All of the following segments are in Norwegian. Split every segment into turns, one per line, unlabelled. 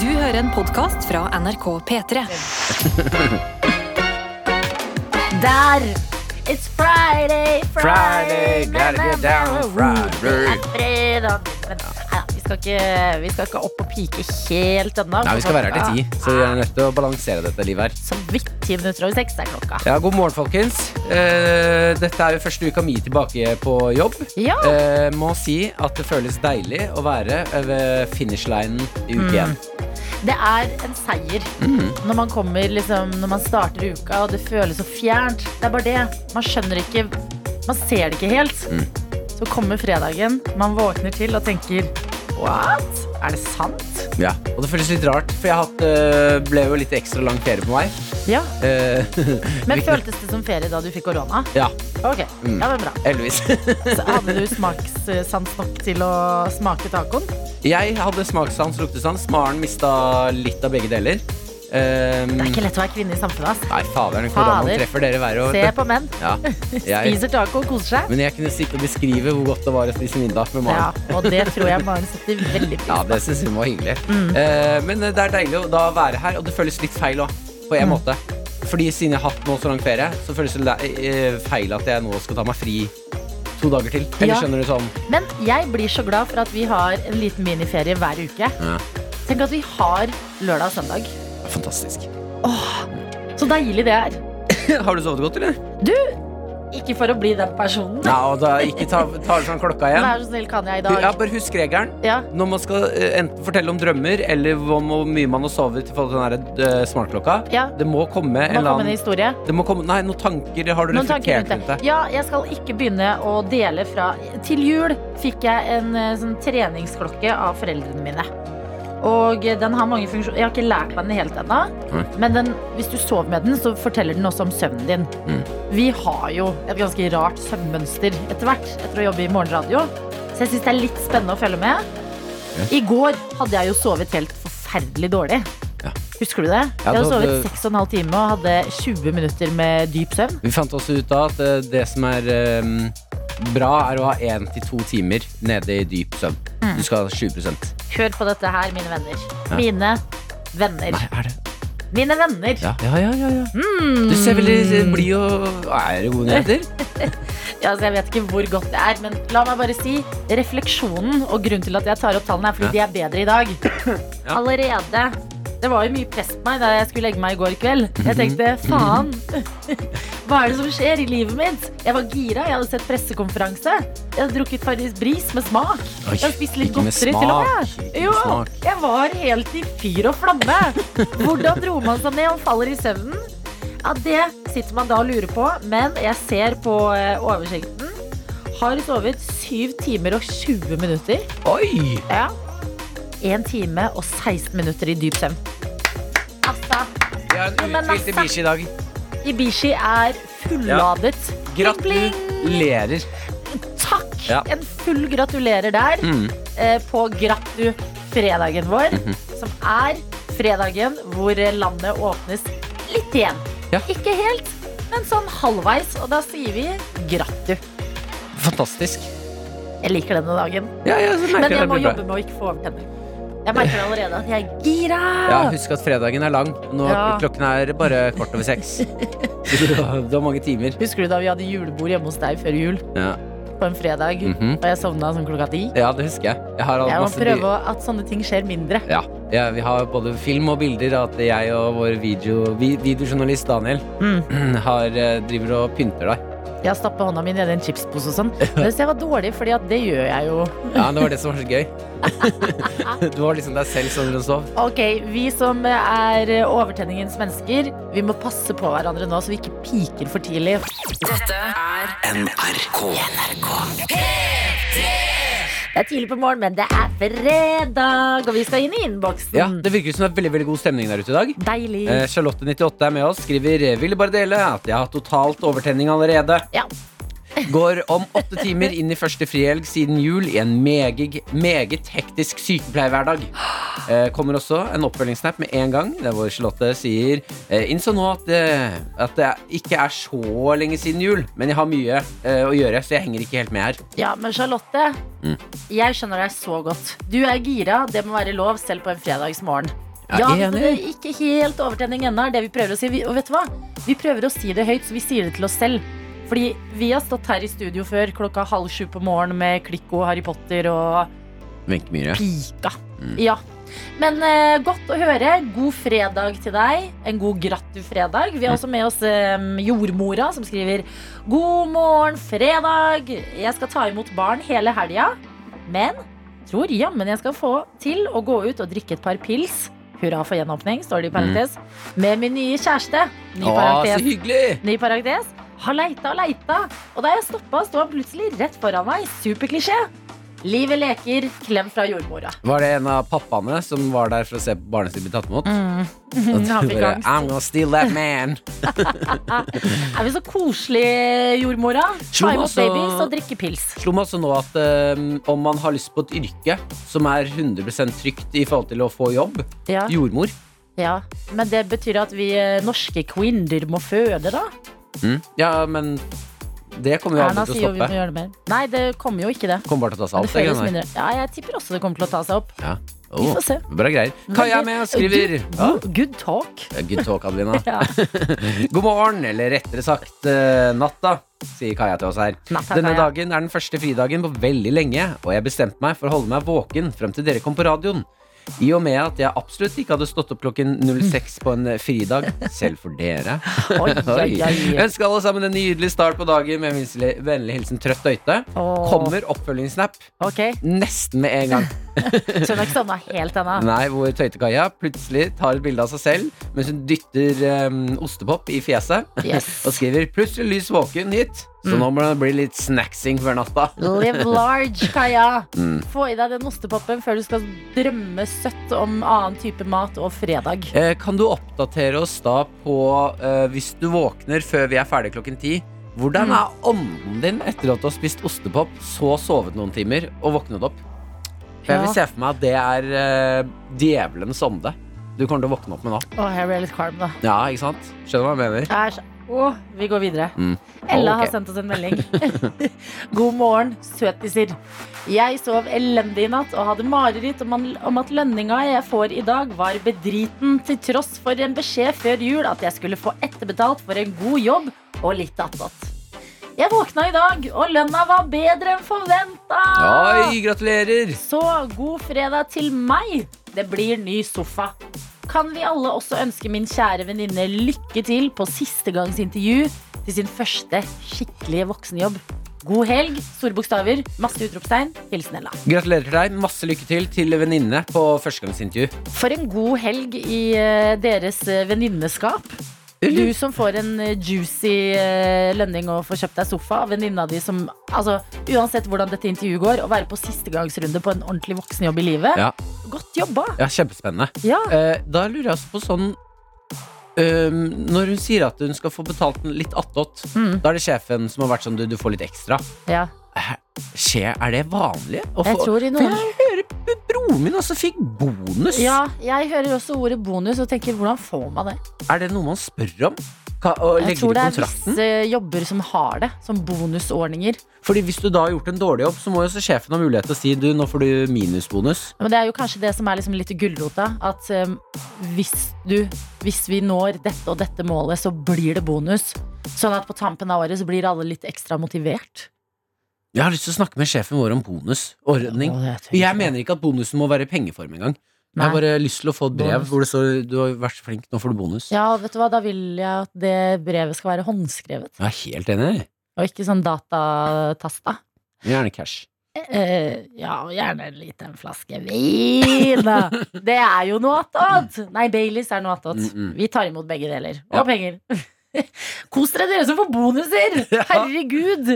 Du hører en podkast fra NRK P3.
Der! It's Friday, Friday,
Friday, gotta get down Friday.
Fredag. Men nei, vi skal, ikke, vi skal ikke opp og pike helt ennå.
Nei, vi skal være her til ti, så vi er nødt til å balansere dette livet her.
Så vidt ti minutter over seks er klokka.
Ja, God morgen, folkens. Eh, dette er jo første uka mi tilbake på jobb.
Ja.
Eh, må si at det føles deilig å være ved finishlinen i uke
Mm.
én.
Det er en seier
Mm.
når man kommer liksom, Når man starter uka, og det føles så fjernt. Det er bare det. Man skjønner ikke Man ser det ikke helt.
Mm.
Så kommer fredagen, man våkner til og tenker What? Er det sant?
Ja. Og det føles litt rart, for jeg har hatt, eh, ble jo litt ekstra lang ferie på meg.
Ja.
Eh,
Men føltes det som ferie da du fikk korona?
ja,
Ok,
Mm.
ja, men bra.
heldigvis.
Så hadde du smakssans nok til å smake tacoen?
Jeg hadde smakssans, luktesans. Maren mista litt av begge deler. Eh,
Det er ikke lett å være kvinne i samfunnet. ass.
Nei, faderen, koronaen
Fader.
treffer dere hver år.
Se på menn.
Ja. Jeg,
Spiser taco og koser seg.
Men jeg kunne sitte og beskrive hvor godt det var å spise middag
Ja,
med Maren. Ja.
og det tror jeg Maren setter veldig pris på.
det syns hun var hyggelig. Eh, men det er deilig å da være her, og det føles litt feil òg, på en måte. Fordi siden jeg har hatt nå så lang ferie, så føles det le- eh, feil at jeg nå skal ta meg fri to dager til. Eller
Ja.
skjønner du sånn?
Men jeg blir så glad for at vi har en liten miniferie hver uke.
Ja.
Tenk at vi har lørdag og søndag.
Fantastisk.
Så deilig det er.
Har du sovet godt, eller?
Du, ikke for å bli den personen.
Ja, og da altså, ikke ta, ta fram klokka
men
igjen.
Vær så snill, kan jeg i
Ja,
dag?
bare husk regelen.
Ja.
Når man skal eh, enten fortelle om drømmer eller om hvor mye man har sovet i forhold til den her, eh, smartklokka,
Ja.
det må komme en
Nå
eller
kommer en
annen
historie.
Det må komme, nei, noen tanker har du
Noen tanker rundt
reflektert
det.
rundt det.
Ja, jeg skal ikke begynne å dele fra Til jul fikk jeg en eh, sånn treningsklokke av foreldrene mine. Og eh, den har mange funksjoner. Jeg har ikke lært meg den helt ennå.
Nei.
Men den, hvis du sover med den, så forteller den også om søvnen din.
Mm.
Vi har jo et ganske rart søvnmønster etter hvert etter å jobbe i morgenradio. Så jeg syns det er litt spennende å følge med. I går hadde jeg jo sovet helt forferdelig dårlig.
Ja.
Husker du det?
Ja,
jeg hadde
da-
sovet
det-
6,5 timer og hadde 20 minutter med dyp søvn.
Vi fant også ut da at eh, det som er eh, bra, er å ha én til to timer nede i dyp søvn.
Mm.
Du skal ha 20 Nei,
Hør på dette her, mine venner.
Ja.
Mine venner.
er det
Mine venner. Mm.
Ja, ja, ja. ja, ja. Du ser veldig eh, blid og Er det gode nyheter?
Ja, altså, jeg vet ikke hvor godt det er, men la meg bare si refleksjonen og grunnen til at jeg tar opp tallene, er fordi de er bedre i dag.
Ja.
Allerede. Det var jo mye press på meg da jeg skulle legge meg i går kveld.
Mhm.
Jeg tenkte faen, hva er det som skjer i livet mitt? Jeg var gira, jeg hadde sett pressekonferanse. Jeg hadde drukket Farris Bris med smak.
Oi,
Jeg har spist litt
ikke med
godteri til og med.
smak, ikke med
Jo,
smak.
jeg var helt i fyr og flamme. Hvordan roer man seg ned og faller i søvnen? Ja, Det sitter man da og lurer på, men jeg ser på eh, oversikten. Har sovet 7 timer og 20 minutter.
Oi!
Ja. 1 time og 16 minutter i dyp søvn. Altså,
Vi
Ja,
har en
men
uthvilt
altså.
bikkje i dag.
Ibishi er fulladet. Bling, bling.
Gratulerer.
Takk!
Ja.
En full gratulerer der
Mm.
eh, på Gratu-fredagen vår,
Mhm.
som er fredagen hvor landet åpnes litt igjen.
Ja.
Ikke helt, men sånn halvveis, og da sier vi gratu.
Fantastisk.
Jeg liker denne dagen,
Ja, ja, så merker
men
jeg
jeg
det
må
blir bra.
jobbe med å ikke få overtenner. Jeg merker allerede at jeg er gira.
Ja, husk at fredagen er lang. Nå
Ja.
Klokken er bare kvart over seks. Så du har, du har mange timer.
Husker du da vi hadde julebord hjemme hos deg før jul
Ja.
på en fredag,
Mhm.
og jeg sovna sånn klokka ti?
ja, det husker jeg. Jeg har hatt
Jeg må
masse by-
prøve å- at sånne ting skjer mindre.
Ja, ja, vi har både film og bilder av at jeg og vår video, vi, videojournalist Daniel
Mm.
har, eh, driver og pynter deg.
Jeg stapper hånda mi nedi en chipspose og sånn. Men hvis jeg var dårlig, fordi at det gjør jeg jo.
Ja, det var det som var så gøy. du var liksom deg selv som du sov.
Ok, vi som er overtenningens mennesker, vi må passe på hverandre nå, så vi ikke piker for tidlig. Det er tidlig på morgen, men det er fredag, og vi skal inn i innboksen.
Ja, det virker som det er veldig, veldig god stemning der ute i dag.
Deilig.
Eh, Charlotte98 er med oss, skriver Ville bare dele at jeg har totalt overtenning allerede.
Ja.
Går om åtte timer inn i første frihelg siden jul i en meget, meget hektisk sykepleierhverdag. Eh, kommer også en oppfølgingssnap med en gang, der hvor Charlotte sier eh, Innså nå at, eh, at det ikke er så lenge siden jul, men jeg har mye eh, å gjøre, så jeg henger ikke helt med her.
ja, men Charlotte,
Mm.
jeg skjønner deg så godt. Du er gira, det må være lov selv på en fredagsmorgen. Ja,
jeg er
men det
enig.
er ikke helt overtenning ennå, er det vi prøver å si. Vi, og vet du hva? Vi prøver å si det høyt, så vi sier det til oss selv. Fordi vi har stått her i studio før klokka halv sju på morgenen med Klikko og Harry Potter og
Wenche Myhre.
pika. Ja. Men eh, godt å høre. God fredag til deg. En god grattu-fredag. Vi har også med oss eh, jordmora, som skriver God morgen, fredag. Jeg skal ta imot barn hele helga, men tror jammen jeg skal få til å gå ut og drikke et par pils. Hurra for gjenåpning, står det i parentes. Med min nye kjæreste. Ny
Mm. Å, så
parentes.
hyggelig!
Ny parentes. Har leita og leita, og da jeg stoppa, sto han plutselig rett foran meg. Superklisjé. Livet leker. Klem fra jordmora.
Var det en av pappaene som var der for å se på barnet sitt bli tatt imot?
Mm, han
Og
fikk
bare,
angst.
I'm gonna steal that man.
Er vi så koselige, jordmora?
Slo
Ta
meg
imot
også-
babies og drikke pils.
Slo meg også nå at eh, om man har lyst på et yrke som er 100 trygt i forhold til å få jobb,
Ja,
jordmor
ja. Men det betyr at vi eh, norske kvinner må føde, da?
mm. Ja, men det kommer jo
Erna
aldri til
sier jo
å
vi må
stoppe.
gjøre det mer. Nei, det kommer jo ikke det.
Kommer bare til å ta
Men det
seg av det
føles
greiene der.
mindre. Ja, jeg tipper også det kommer til å ta seg opp.
Ja.
Vi
Oh,
får se.
bra greier. Kaja er med og skriver
Good,
Ja,
good, good talk.
Eh, Good talk, Adelina.
Ja.
God morgen, eller rettere sagt eh, natta, sier Kaja til oss her.
Natta,
Denne
Kaja.
dagen er den første fridagen på veldig lenge, og jeg bestemte meg for å holde meg våken frem til dere kom på radioen. I og med at jeg absolutt ikke hadde stått opp klokken 06 på en eh, fridag, selv for dere.
Oi, oi,
Oi.
oi.
Ønsker alle sammen en nydelig start på dagen med venslig- vennlig hilsen Trøtt Øyte.
Åh.
Kommer oppfølgingssnap
Ok,
nesten med en gang.
så hun har ikke sovna helt ennå.
Nei, hvor Tøytekaja plutselig tar et bilde av seg selv mens hun dytter em, ostepop i fjeset.
Yes.
Og skriver 'plutselig lys våken hit', så nå må det bli litt snacksing før natta.
Live large, Kaja.
Mm.
Få i deg den ostepopen før du skal drømme søtt om annen type mat og fredag.
Eh, Kan du oppdatere oss da på, eh, hvis du våkner før vi er ferdig klokken ti, hvordan er ånden din etter at du har spist ostepop, så sovet noen timer og våknet opp? For jeg
Ja.
vil se for meg at det er eh, djevelens ånde du kommer til å våkne opp med nå.
Åh, jeg ble litt kvalm, da.
Ja, ikke sant? Skjønner du hva jeg mener?
Æsj. Åh, vi går videre.
Mm.
Ella har
Ok.
sendt oss en melding. God morgen, søtiser. Jeg sov elendig i natt og hadde mareritt om, an- om at lønninga jeg får i dag, var bedriten, til tross for en beskjed før jul at jeg skulle få etterbetalt for en god jobb og litt attåt. Jeg våkna i dag, og lønna var bedre enn forventa!
Oi, gratulerer!
Så god fredag til meg. Det blir ny sofa. Kan vi alle også ønske min kjære venninne lykke til på siste gangs intervju til sin første skikkelige voksenjobb. God helg, store bokstaver, masse utropstegn. Hilsen Ella.
Gratulerer til deg. Masse lykke til til venninne på førstegangsintervju.
For en god helg i eh, deres eh, venninneskap. Du som får en eh, juicy eh, lønning og får kjøpt deg sofa. Venninna di som altså, Uansett hvordan dette intervjuet går, å være på sistegangsrunde på en ordentlig voksenjobb i livet.
Ja.
Godt jobba!
Ja, kjempespennende.
Ja.
Eh, da lurer jeg også på sånn øhm, Når hun sier at hun skal få betalt den litt attåt,
Mm.
da er det sjefen som har vært sånn du, du får litt ekstra.
Ja,
Skje, er det vanlig? å
jeg
få-
tror i
For
noen
jeg hører b- broren min også fikk bonus.
Ja, jeg hører også ordet bonus og tenker hvordan får man det?
Er det noe man spør om? Ka, å
Jeg
legge
tror det
det i
er
kontrakten?
visse jobber som har det, som bonusordninger.
Fordi Hvis du da har gjort en dårlig jobb, så må jo også sjefen ha mulighet til å si du, nå får du minusbonus.
Men det er jo kanskje det som er liksom litt gulrota. At um, hvis, du, hvis vi når dette og dette målet, så blir det bonus. Sånn at på tampen av året så blir alle litt ekstra motivert.
Jeg har lyst til å snakke med sjefen vår om bonusordning.
Å, det er tøft.
Jeg mener ikke at bonusen må være i pengeform engang. Jeg har
Nei.
bare lyst til å få et brev
Bonus.
hvor det står du har vært så flink, nå får du bonus.
Ja, vet du hva, da vil jeg at det brevet skal være håndskrevet.
Jeg er helt enig.
Og ikke sånn datatasta.
Gjerne cash.
Eh, ja, og gjerne en liten flaske vin. da. Det er jo noe attåt! Nei, Baileys er noe attåt.
Mm, mm.
Vi tar imot begge deler. Og
Ja.
penger. Kos dere, dere som får bonuser! Herregud!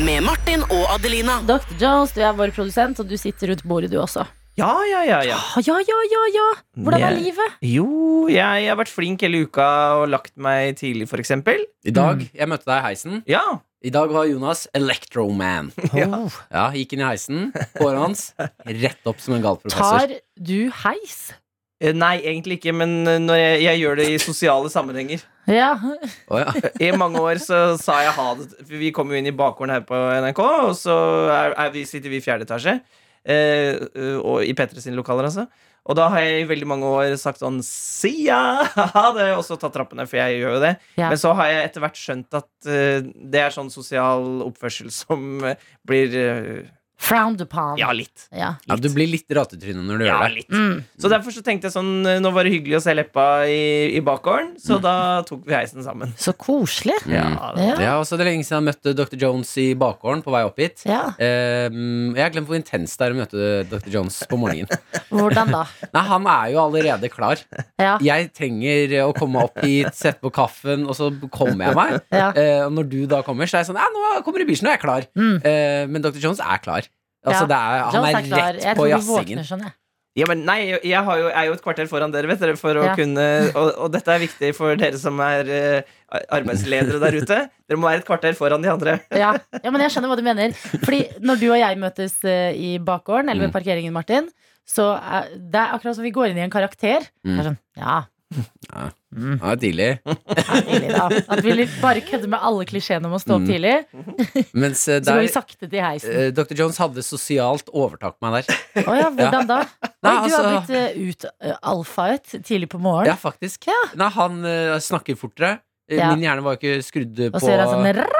Med Martin og Adelina.
Dr. Jones, du er vår produsent, og du sitter rundt bordet, du også.
Ja, ja, ja, ja.
Ah, ja, ja, ja, ja! Hvordan er
Jeg-
livet?
Jo, jeg har vært flink hele uka og lagt meg tidlig, for eksempel.
I dag,
Mm.
jeg møtte deg i heisen.
Ja.
I dag var Jonas Electroman.
Ja.
Oh.
Ja, gikk inn i heisen, håret hans rett opp som en gal professor.
Tar du heis?
Eh, Nei, egentlig ikke, men eh, når jeg, jeg gjør det i sosiale sammenhenger.
Ja.
Å, ja.
I mange år så sa jeg ha det. for Vi kom jo inn i bakgården her på NRK, og så er, er vi, sitter vi i fjerde etasje. eh, og i P3 sine lokaler, altså. Og da har jeg i veldig mange år sagt sånn See ya! Ha det! Og så tatt trappene, for jeg gjør jo det.
Ja.
Men så har jeg etter hvert skjønt at eh, det er sånn sosial oppførsel som eh, blir eh,
Frowned upon.
Ja, litt.
Ja.
Ja, du blir litt ratetryne når du
Ja,
gjør det.
litt.
Mm.
Så derfor så tenkte jeg sånn eh, Nå var det hyggelig å se leppa i, i bakgården, så da tok vi heisen sammen.
Så koselig.
Mm.
Ja, det-
Ja.
Ja, og så er det lenge siden jeg møtte Dr. Jones i bakgården på vei opp hit.
ja.
Eh, jeg har glemt hvor intenst det er å møte Dr. Jones på morgenen.
Hvordan da?
Nei, Han er jo allerede klar.
Ja.
Jeg trenger å komme opp hit, sette på kaffen, og så kommer jeg meg.
Ja.
Eh, og når du da kommer, så er jeg sånn Ja, nå kommer Ibishi, nå er jeg klar.
Mm.
Eh, men Dr. Jones er klar. Altså,
Ja.
det er, han
Jones
er,
klar.
rett
Jeg
på
tror vi
jazzingen.
våkner sånn, jeg.
Ja, men nei, jeg, jeg har jo, jeg er jo et kvarter foran dere, vet dere, for å
Ja.
kunne og, og dette er viktig for dere som er eh, arbeidsledere der ute. Dere må være et kvarter foran de andre.
Ja. ja, men jeg skjønner hva du mener. Fordi når du og jeg møtes eh, i bakgården, eller ved
Mm.
parkeringen, Martin, så er det er akkurat som vi går inn i en karakter. Det
Mm.
er sånn, ja,
Ja, tidlig.
tidlig da. At vi litt bare kødder med alle klisjeene om å stå opp
Mm.
tidlig.
Mens eh,
Så går
der
vi sakte til heisen.
eh, Dr. Jones hadde sosialt overtak på meg der.
Å ja, hvordan da? Oi,
Eh, Nei,
du har
altså-
blitt eh, ut eh, alfa ut tidlig på morgenen.
Ja, faktisk. Nei, han eh, snakker fortere. Eh,
Ja.
Min hjerne var jo ikke skrudd
Og
på
så gjør han sånn rapp.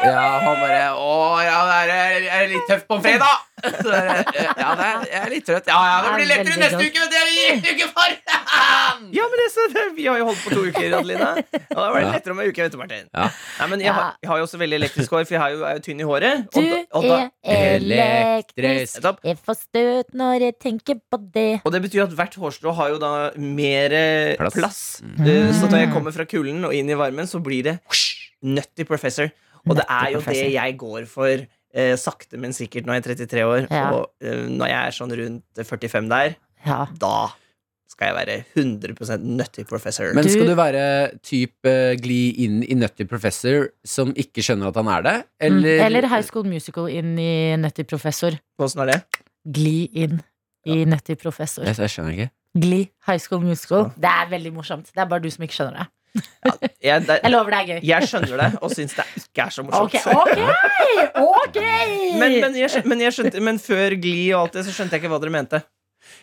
Ja, han bare Å, ja, det er, er det litt tøft på fredag. Så er det, Ja, det er, jeg er litt trøtt. Ja, ja, det
Det
blir
er
lettere
veldig
neste
godt.
uke. Det er i uke foran!
Ja, men det, er så, det, Vi har jo holdt på to uker, Adelina. Og da var det lettere om ei uke. Vet du, Martin.
Ja.
Nei, men jeg, har- jeg har jo også veldig elektrisk hår, for jeg har jo, er jo tynn i håret.
Du
da- og, da,
er elektrisk.
Nettopp.
Jeg får støt når jeg tenker på det.
og det betyr at hvert hårstrå har jo da mer eh,
Plass.
plass.
Mm.
Eh, Så når jeg kommer fra kulden og inn i varmen, så blir det Nutty Professor. Og det er jo det
Professor.
jeg går for eh, sakte, men sikkert når jeg er 33 år.
Ja.
Og eh, når jeg er sånn rundt 45 der,
Ja.
da skal jeg være 100 Nutty Professor.
Men
Du-
skal du være type gli inn i Nutty Professor som ikke skjønner at han er det? Eller,
Mm. Eller, High School Musical inn i Nøtti Professor.
Hvordan er det?
Gli inn i Nøtti Professor.
Jeg, jeg skjønner ikke.
Gli High School Musical. Det er veldig morsomt. Det er bare du som ikke skjønner det.
Jeg, det
Jeg lover det er gøy.
jeg skjønner det, og syns det ikke er så morsomt.
Ok, ok! ok
Men, men, jeg, skjø- men, jeg skjønte, men før Gli og alt det, så skjønte jeg ikke hva dere mente.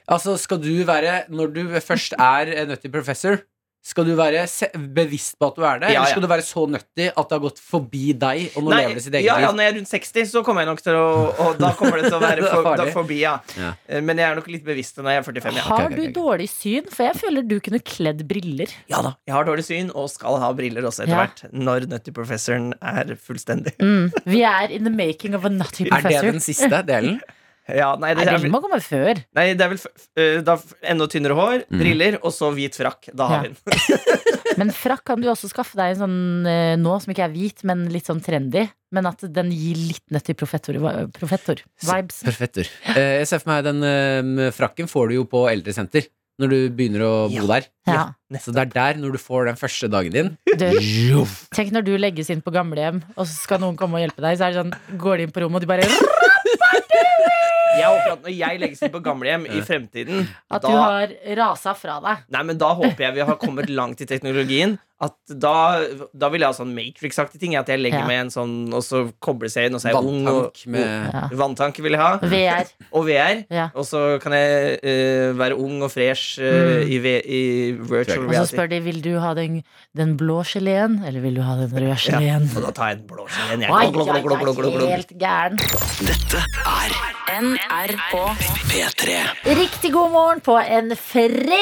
Altså, skal du være Når du først er eh, Nutty Professor skal du være se- bevisst på at du er det,
Ja,
eller
ja.
skal du være så nutty at det har gått forbi deg, og nå
Nei,
lever det sitt eget
ja, ja,
liv?
når jeg er rundt 60, så kommer jeg nok til å Og da kommer det til å være
Det er
for,
farlig.
da forbi, ja.
Ja.
Eh, Men jeg er nok litt bevisst når jeg er 45. Ja.
ok,
Har
ok,
du
ok.
dårlig syn? For jeg føler du kunne kledd briller.
ja da, Jeg har dårlig syn og skal ha briller også etter
Ja.
hvert. Når Nutty Professoren er fullstendig.
Vi er in the making of a nutty
Er det
professor.
den siste delen?
Ja, nei, det
Nei,
er,
briller må komme før.
nei, det er vel f- eh, da, f- enda tynnere hår,
Mm.
briller og så hvit frakk. Da
Ja.
har vi den.
Men frakk kan du også skaffe deg en sånn eh, nå som ikke er hvit, men litt sånn trendy. Men at den gir litt nøtt i profettor-vibes.
Perfektur. Eh, jeg ser for meg den eh, frakken får du jo på eldresenter når du begynner å
Ja.
bo der.
Ja.
Så det er der, når du får den første dagen din
Du,
Joff.
tenk når du legges inn på gamlehjem, og så skal noen komme og hjelpe deg. Så er det sånn, går de inn på rommet, og de bare
Jeg håper at når jeg legges inn på gamlehjem i fremtiden
At
da,
du har rasa fra deg.
Nei, men da håper jeg vi har kommet langt i teknologien. At da, da vil jeg ha sånn Matrix-aktige ting. At jeg legger
Ja.
meg i en sånn, og så kobles jeg inn, og så er jeg ung. Og,
vanntank med
Ja.
Vanntank vil jeg ha.
VR.
Og VR.
Ja.
Og så kan jeg eh, være ung og fresh eh, i, ve- i virtual
Mm. Og så
reality.
spør de vil du ha den, den blå geleen, eller vil du ha den røde
Ja,
geleen.
og da tar jeg en blå gelé.
Oi, oi, oi, helt gæren.
NRK.
Riktig god morgen på en fredag!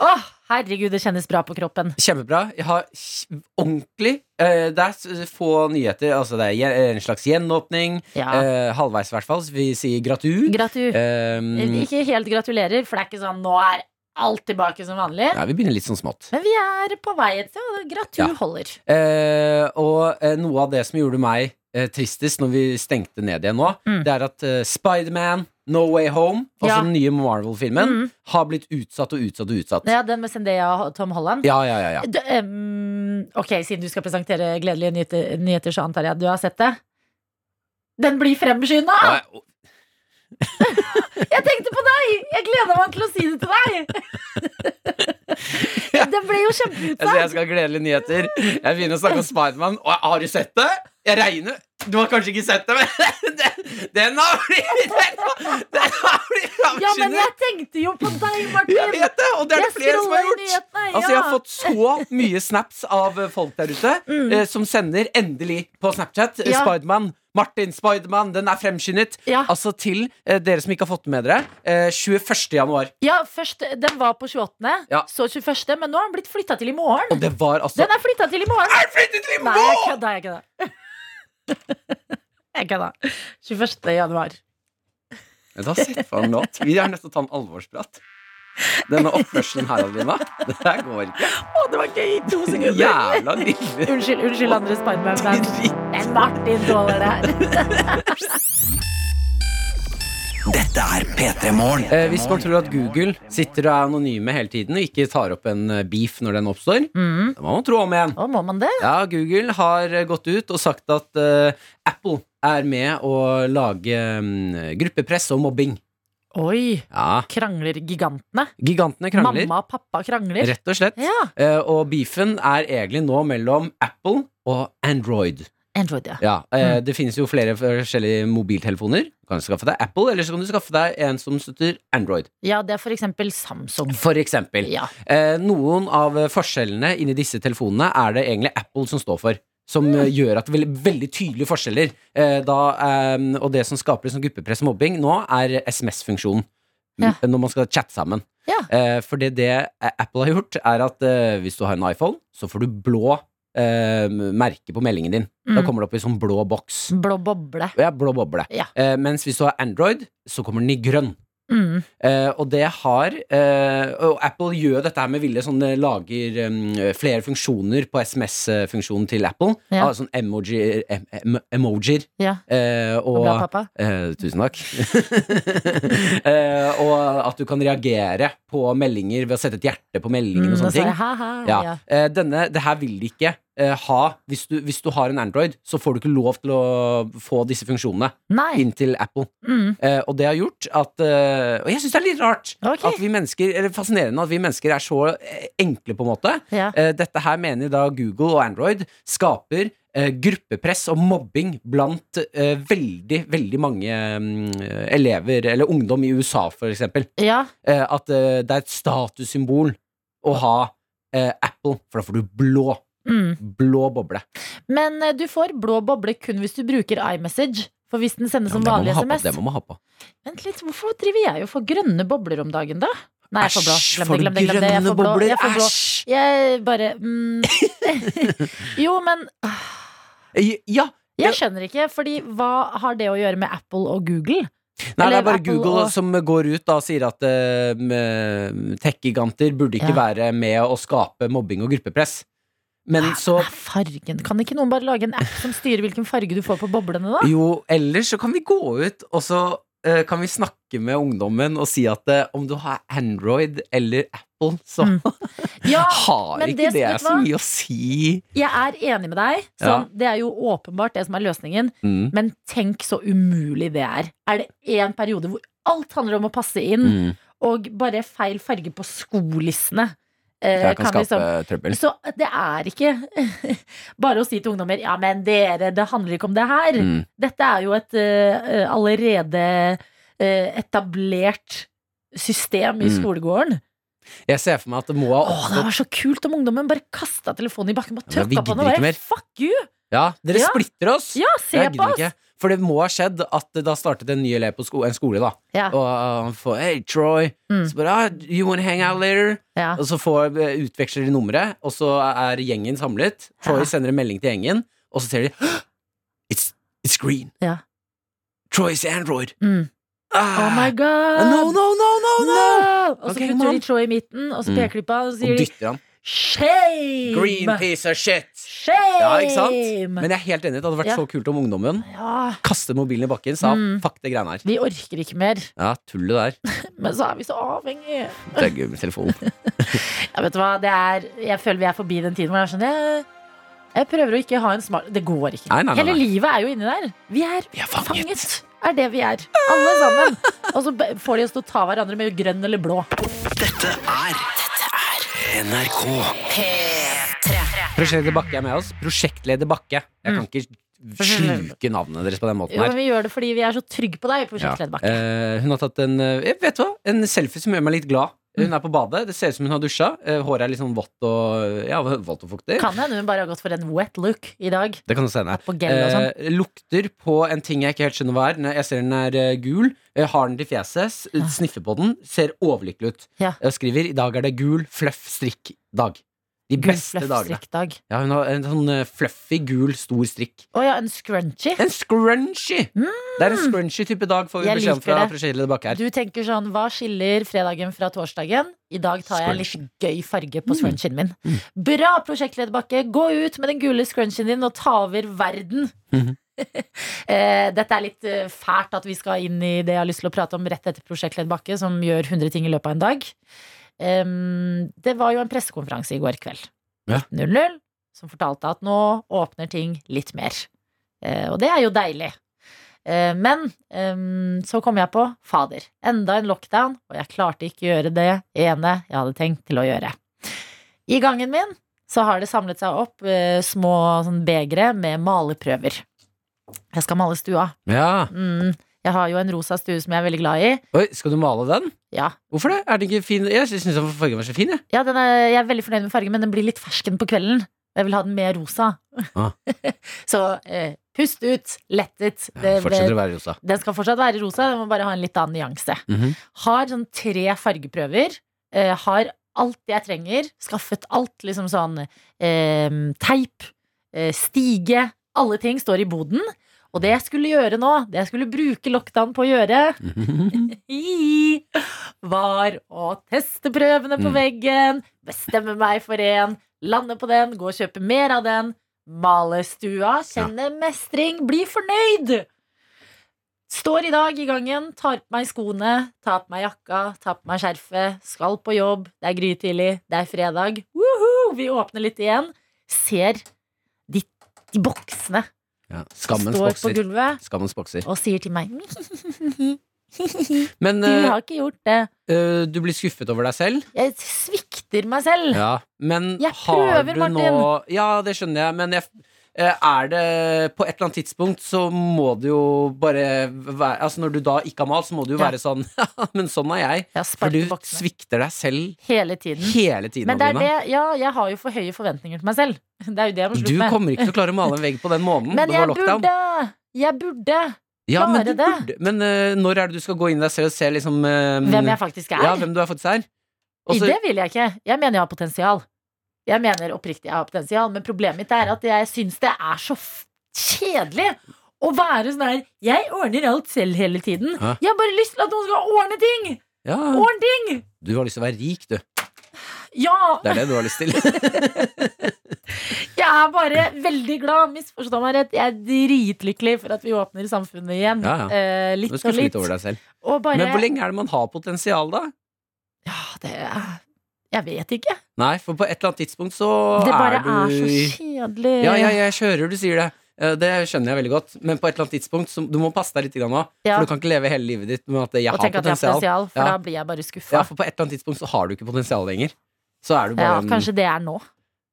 Å, herregud, det kjennes bra på kroppen.
Kjempebra. Jeg har kj- ordentlig eh, Det er s- få nyheter. Altså, det er gje- en slags gjenåpning.
Ja.
eh, halvveis, i hvert fall. Så vi sier gratu.
Gratu.
Eh,
Ikke helt gratulerer, for det er ikke sånn nå er alt tilbake som vanlig.
ja, vi begynner litt sånn smått.
Men vi er på vei et sted, og gratu
Ja.
holder.
Eh, og eh, noe av det som gjorde meg eh, tristest når vi stengte ned igjen nå,
Mm.
det er at eh, Spiderman, No Way Home, altså
Ja.
den nye Marvel-filmen,
Mm.
har blitt utsatt og utsatt og utsatt.
Ja, den med Zendaya og Tom Holland.
Ja, ja, ja. ja.
Du, em, ok, siden du skal presentere gledelige nyheter, nyheter, så antar jeg at du har sett det. Den blir fremskynda!
Og-
Jeg tenkte på deg! Jeg gleder meg til å si det til deg! Den ble jo
altså, Jeg sier
kjempeutsatt.
jeg skal ha gledelige nyheter. Jeg begynner å snakke om Spiderman. Og har du sett det? Jeg regner Du har kanskje ikke sett det, men den, den har blitt Den har blitt
Ja, men
framskyndet!
jeg tenkte jo på deg,
Jeg
Martin!
vet det, og det er det
Jeg
flere som har
scroller
gjort.
nyhetene, ja. Mm.
Altså, jeg har fått så mye snaps av eh, folk der ute eh, som sender endelig på Snapchat eh,
Ja.
Spiderman. Martin Spiderman, den er fremskyndet.
Ja.
Altså til eh, dere som ikke har fått det med dere. Eh, 21. januar.
Ja, først, Den var på 28.,
Ja.
så 21., men nå har den blitt flytta til i morgen.
Og det var altså
Den er flytta til i morgen!
Er det flyttet til i
Nei, jeg
morgen?!
kødda, jeg kødda. Jeg kødda. 21. januar.
Men da setter vi den låt. Vi er nødt til å ta en alvorsprat. Denne oppførselen her, Adelina, det her går
Å,
ikke.
det var gøy i to sekunder!
Jævla lille
Unnskyld, unnskyld andre Spiderman-fans. Men Martin tåler det her.
Dette er P3 Morgen.
Eh, hvis man tror at Google sitter og er anonyme hele tiden og ikke tar opp en eh, beef når den oppstår,
Mm.
da må man tro om igjen.
Å, må man det?
Ja, Google har eh, gått ut og sagt at eh, Apple er med å lage mm, gruppepress og mobbing.
Oi.
Ja,
Krangler gigantene.
Gigantene krangler,
Mamma og pappa krangler.
rett og slett.
Ja.
Eh, og beefen er egentlig nå mellom Apple og Android.
Android, ja.
Ja, eh,
Mm.
Det finnes jo flere forskjellige mobiltelefoner. Du kan skaffe deg Apple, eller så kan du skaffe deg en som støtter Android.
Ja, det er for eksempel Samsung.
For eksempel.
Ja.
Eh, noen av eh, forskjellene inni disse telefonene er det egentlig Apple som står for. Som eh,
Mm.
gjør at det er veldig, veldig tydelige forskjeller. Eh, da, eh, og det som skaper liksom gruppepress og mobbing nå, er SMS-funksjonen.
Ja.
M- Eh, Når man skal chatte sammen.
Ja.
Eh, for det, det eh, Apple har gjort, er at eh, hvis du har en iPhone, så får du blå eh, merke på meldingen din. Da
Mm.
kommer det opp i sånn blå boks.
Blå boble.
Ja, blå boble.
Ja.
Eh, mens hvis du har Android, så kommer den i grønn.
Mm.
Eh, og det har eh, Og Apple gjør jo dette her med vilje. Sånn, eh, lager eh, flere funksjoner på SMS-funksjonen til Apple.
Ja.
Ah, sånn emojier, em, em, emojier
Ja.
eh,
Og
og
bra, pappa.
eh, Tusen takk. eh, og at du kan reagere på meldinger ved å sette et hjerte på meldingen.
Mm,
og
og
sånne
så er
ting
det ha-ha.
ja.
Ja.
Eh, denne, det her vil de ikke eh, ha. Hvis du, hvis du har en Android, så får du ikke lov til å få disse funksjonene
Nei.
inn til Apple.
Mm.
Eh, og det har gjort at eh, Og jeg syns det er litt rart.
Ok.
At vi mennesker, eller Fascinerende at vi mennesker er så eh, enkle, på en måte.
Ja.
Eh, dette her mener da Google og Android skaper eh, gruppepress og mobbing blant eh, veldig, veldig mange mm, elever, eller ungdom i USA, for eksempel.
ja.
Eh, at eh, det er et statussymbol å ha eh, Apple, for da får du blå.
Mm.
Blå boble.
Men eh, du får blå boble kun hvis du bruker iMessage. For hvis den sendes som
Ja, men
vanlig
det må man
SMS
ha på, det må man ha på.
Vent litt, hvorfor driver jeg og får grønne bobler om dagen, da? Nei, jeg får blå.
Æsj,
Glem
får
det,
du
glem det. Glem det. Jeg
grønne
får blå.
bobler?
Jeg får blå.
Æsj!
Jeg bare mm. Jo, men ah,
Ja,
Jeg skjønner ikke, fordi hva har det å gjøre med Apple og Google?
Nei, det
Eller
er bare
Apple
Google
og-
som går ut da og sier at eh, m- tech-giganter burde ikke
Ja.
være med å skape mobbing og gruppepress. Men så
Nei, Ah, fargen. Kan ikke noen bare lage en app som styrer hvilken farge du får på boblene, da?
Jo, ellers så kan vi gå ut, og så eh, kan vi snakke med ungdommen og si at eh, om du har Android eller Apple, så
Mm. Ja,
har
men
ikke
det-
det
vet du
så
hva?
mye å si.
jeg er enig med deg.
Ja.
Sånn, Det er jo åpenbart det som er løsningen.
Mm.
Men tenk så umulig det er. Er det én periode hvor alt handler om å passe inn,
Mm.
og bare feil farge på skolissene eh,
Jeg kan, skape
liksom-
trøbbel.
Så det er ikke bare å si til ungdommer ja, men dere, det handler ikke om det her.
Mm.
Dette er jo et eh, allerede eh, etablert system i
Mm.
skolegården.
Jeg ser for meg at det må ha
Åh, det
oppstått
var så kult om ungdommen bare kasta telefonen i bakken og
Ja, men vi
tråkka på den.
gidder
og
ikke
bare,
mer.
Fuck you!
Ja, dere
Ja.
splitter oss!
Ja, se
Jeg
på
gidder
oss!
ikke. For det må ha skjedd at det da startet en ny elev på sko en skole, da.
Ja,
Og uh, han får Hey, Troy.
Mm.
Så bare, ah, you wanna hang out later?
ja.
Og så får, eh, utveksler de nummeret, og så er gjengen samlet. Troy
Ja.
sender en melding til gjengen, og så ser de «Hå! It's, it's green.
Ja.
Troy's Android.
Mm.
Ah,
Oh my god!
No, no, no, no, no!
Og så
Ok,
putter
mom.
de Troy i midten, og så
Mm.
peker de på han og så
Og
sier de,
dytter han.
shame!
Green piece of shit!
Shame!
Ja, ikke sant? Men jeg er helt enig. Det hadde vært
Ja.
så kult om ungdommen
ja.
kastet mobilen i bakken, sa
Mm.
fuck det greiene her.
Vi orker ikke mer,
Ja, tullet der.
men så er vi så avhengige.
Det er gøy med telefonen.
Ja, vet du hva? Det er, jeg føler vi er forbi den tiden hvor jeg skjønner jeg, jeg prøver å ikke ha en smart Det går ikke.
Nei, nei, nei,
Hele
nei.
livet er jo inni der. Vi er,
Vi er fanget.
fanget. Er det vi er. Alle sammen. Og så be- får de oss til å ta hverandre med grønn eller blå.
Dette er NRK.
Prosjektleder Bakke er med oss. Prosjektleder Bakke. Jeg kan ikke sluke navnene deres på den måten
Mm. Jo,
her.
men vi gjør det fordi vi er så trygge på deg. På
Ja.
Kjell Kledbakk.
Eh, hun har tatt en, eh, jeg vet hva, en selfie som gjør meg litt glad. Hun er på badet, det ser ut som hun har dusja. Eh, Håret er litt sånn vått og, ja, vått og fuktig.
Kan hende hun bare har gått for en wet look i dag.
Det kan du se henne.
På gel og sånn.
Eh, lukter på en ting jeg ikke helt skjønner hva er. Når Jeg ser den er eh, gul, eh, har den til fjeset, s- sniffer på den, ser overlykkelig ut.
Ja.
Og skriver 'I dag er det gul fluff strikk-dag'. De beste dagene.
Gullfløff-strikkdag.
Ja, hun har en sånn eh, fluffy, gul, stor strikk.
Å ja, en scrunchie.
En scrunchy! Det er en scrunchy type dag, får vi
Mm. Jeg
beskjed om
liker
fra
det.
prosjektet bak her.
Du tenker sånn, hva skiller fredagen fra torsdagen? I dag tar jeg litt gøy farge
Mm.
på scrunchien min. Bra, prosjektleder Bakke. Gå ut med den gule scrunchien din og ta over verden.
Mhm.
Eh, Dette er litt eh, fælt at vi skal inn i det jeg har lyst til å prate om rett etter prosjektleder Bakke, som gjør 100 ting i løpet av en dag. Em, Det var jo en pressekonferanse i går kveld.
Ja.
19.00, som fortalte at nå åpner ting litt mer. Eh, Og det er jo deilig. Eh, Men ehm, så kom jeg på fader. Enda en lockdown, og jeg klarte ikke å gjøre det ene jeg hadde tenkt til å gjøre. I gangen min så har det samlet seg opp eh, små sånn, begre med maleprøver. Jeg skal male stua.
Ja.
Mm. Jeg har jo en rosa stue som jeg er veldig glad i.
Oi, skal du male den?
Ja,
Hvorfor det? Er den ikke fin? Jeg syns den fargen var så fin, jeg.
ja den er, jeg er veldig fornøyd med fargen, men den blir litt fersken på kvelden. Jeg vil ha den mer rosa.
Ah.
så eh, pust ut, lettet.
Ja,
Det-
fortsetter å være rosa.
Den skal fortsatt være rosa, den må bare ha en litt annen nyanse.
Mhm.
Har sånn tre fargeprøver. eh, har alt jeg trenger. Skaffet alt, liksom sånn eh, teip, eh, stige. Alle ting står i boden. Og det jeg skulle gjøre nå, det jeg skulle bruke lockdown på å gjøre,
mhm.
i, var å teste prøvene på
Mm.
veggen, bestemme meg for en, lande på den, gå og kjøpe mer av den, male stua, kjenne mestring, bli fornøyd. Står i dag i gangen, tar på meg skoene, tar på meg jakka, tar på meg skjerfet, skal på jobb, det er grytidlig, det er fredag. Woohoo! Vi åpner litt igjen. Ser de, de boksene
Ja.
som
Skammens
står på
bokser.
gulvet
Skammens bokser.
og sier til meg
Men
Du
eh,
har ikke gjort det.
eh, du blir skuffet over deg selv?
Jeg svikter meg selv.
Ja, men
Jeg
har
prøver,
du
Martin.
nå Ja, det skjønner jeg, men jeg eh, er det På et eller annet tidspunkt så må det jo bare være Altså når du da ikke har malt, så må det jo
Ja.
være sånn Men sånn er jeg.
Jeg har
For du
sparket boksene
svikter deg selv
hele tiden.
hele tiden,
Men det er det,
Adelina.
ja, jeg har jo for høye forventninger til meg selv. Det er jo det jeg må
Du
slutte med.
kommer ikke til å klare å male en vegg på den måneden.
Men
det
jeg
var lockdown.
burde! Jeg burde!
ja, men,
klare
du
det.
burde. men eh, når er det du skal gå inn i deg selv og se liksom eh,
Hvem jeg faktisk er.
Ja, hvem du er faktisk er? Og
I
så-
det vil jeg ikke. Jeg mener jeg har potensial. Jeg mener oppriktig jeg har potensial, men problemet mitt er at jeg syns det er så f- kjedelig å være sånn her Jeg ordner alt selv hele tiden.
Hæ?
Jeg har bare lyst til at noen skal ordne ting!
ja,
Ordne ting!
du har lyst til å være rik, du.
Ja!
Det er det du har lyst til.
Jeg er bare veldig glad, misforstå meg rett. Jeg er dritlykkelig for at vi åpner samfunnet igjen.
Ja, ja.
Eh,
Du
litt
skal
og litt.
slite over deg selv.
Og bare
Men hvor lenge er det man har potensial, da?
Ja, det er Jeg vet ikke.
Nei, for på et eller annet tidspunkt så
Det bare
er du
er, så kjedelig.
Ja, ja, jeg kjører, du sier det. Eh, Det skjønner jeg veldig godt, men på et eller annet tidspunkt så, Du må passe deg litt grann nå,
Ja.
for du kan ikke leve hele livet ditt med at jeg
og
har
tenk at jeg har
potensial.
potensial, for da
Ja.
blir jeg bare skuffa.
Ja, for på et eller annet tidspunkt så har du ikke potensial lenger. Så er du
Ja,
bare en-
kanskje det er nå.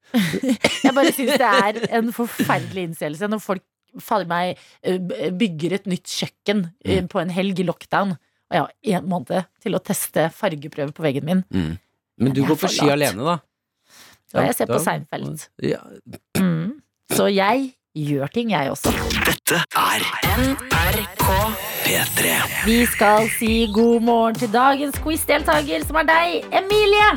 jeg bare syns det er en forferdelig innseelse når folk fader meg eh, b- bygger et nytt kjøkken eh,
Mm.
på en helg i lockdown. Og jeg har én måned til å teste fargeprøver på veggen min.
mm. Men du
Jeg er
går på ski
forlatt.
alene, da.
Og jeg ser
da-
på Seinfeld.
Ja.
Mm. Så jeg gjør ting, jeg også.
Dette er P3.
Vi skal si god morgen til dagens quizdeltaker, som er deg, Emilie.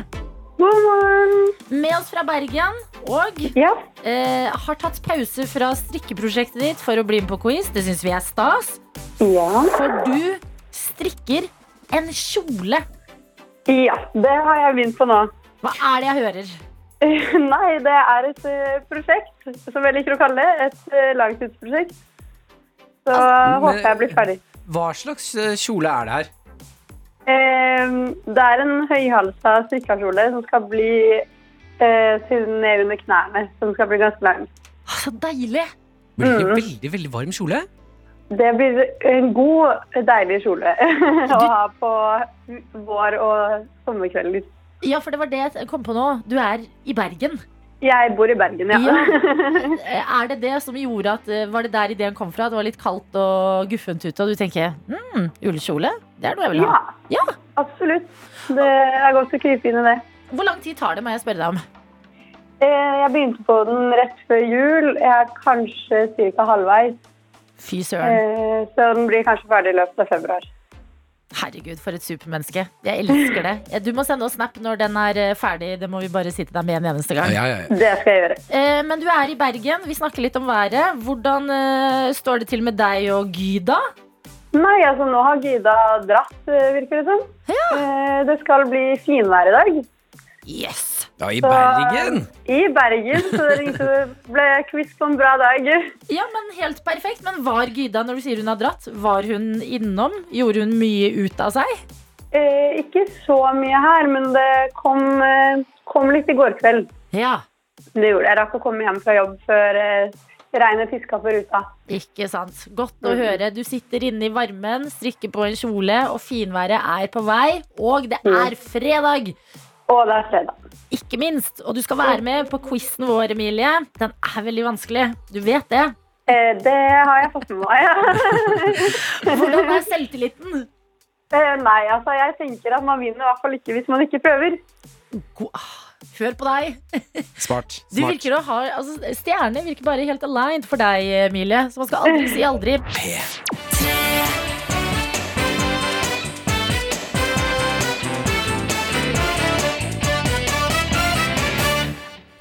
God morgen!
Med oss fra Bergen. Og
Ja,
eh, har tatt pause fra strikkeprosjektet ditt for å bli med på quiz. Det syns vi er stas,
ja.
for du strikker en kjole.
Ja, det har jeg begynt på nå.
Hva er det jeg hører?
Nei, det er et eh, prosjekt, som jeg liker å kalle det. Et eh, langtidsprosjekt. Så håper jeg blir ferdig.
Hva slags eh, kjole er det her?
Ehm, det er en høyhalsa strikkekjole som skal bli eh, til ned under knærne. Som skal bli ganske lang.
Å, Så deilig!
Blir det
Mm.
veldig, veldig varm kjole?
Det blir en god, deilig kjole å ha på vår- og sommerkvelder.
Ja, for det var det jeg kom på nå. Du er i Bergen.
Jeg bor i Bergen, ja.
Eh, Er det det som gjorde at eh, Var det der ideen kom fra? Det var litt kaldt og guffent ute, og du tenker mm, ulekjole? Det er noe jeg vil ha.
Ja,
Ja.
absolutt. Det er godt å krype inn i det.
Hvor lang tid tar det, må jeg spørre deg om?
Eh, Jeg begynte på den rett før jul. Jeg er kanskje cirka halvveis,
Fy søren.
eh, så den blir kanskje ferdig i løpet av februar.
Herregud, for et supermenneske. Jeg elsker det. Eh, Du må sende oss snap når den er eh, ferdig. Det må vi bare si til deg med en eneste gang.
Ja, ja, ja.
Det skal jeg gjøre.
Eh, Men du er i Bergen. Vi snakker litt om været. Hvordan eh, står det til med deg og Gyda?
Nei, altså nå har Gida dratt, eh, virker det som. Eh, Det skal bli finvær i dag.
Yes!
Ja, I Bergen!
I Bergen, så det liksom ble quiz på en bra dag.
Ja, men Helt perfekt. Men var Gyda, når du sier hun har dratt, var hun innom? Gjorde hun mye ut av seg?
Eh, Ikke så mye her, men det kom, eh, kom litt i går kveld.
Ja.
Det gjorde jeg. Jeg rakk å komme hjem fra jobb før eh, regnet piska på ruta.
Ikke sant. Godt å høre. Du sitter inne i varmen, strikker på en kjole, og finværet er på vei. Og det er fredag,
Og det er fredag.
ikke minst. Og du skal være med på quizen vår, Emilie. Den er veldig vanskelig. Du vet det.
Eh, Det har jeg fått med meg. ja.
Hvordan er selvtilliten?
Eh, Nei, altså jeg tenker at man vinner i hvert fall ikke hvis man ikke prøver.
God- ah, Hør på deg.
Smart.
Du
smart.
virker å ha, altså, Stjerne virker bare helt aligned for deg, Emilie. Så man skal aldri si aldri.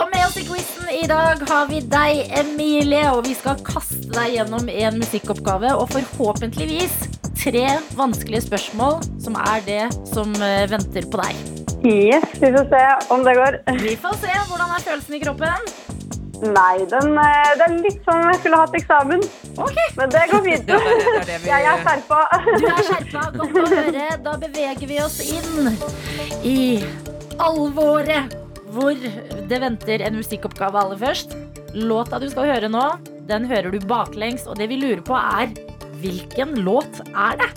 Og med oss i quizen i dag har vi deg, Emilie, og vi skal kaste deg gjennom en musikkoppgave. Og forhåpentligvis tre vanskelige spørsmål, som er det som eh, venter på deg.
Yes, vi får se om det går.
Vi får se. Hvordan er følelsen i kroppen?
Nei, den, eh, det er litt som om jeg skulle hatt eksamen. Men det går fint. Jeg er skjerpa.
Du er skjerpa. Godt å høre. Da beveger vi oss inn i alvoret, hvor det venter en musikkoppgave aller først. Låta du skal høre nå, den hører du baklengs, og det vi lurer på, er hvilken låt er det?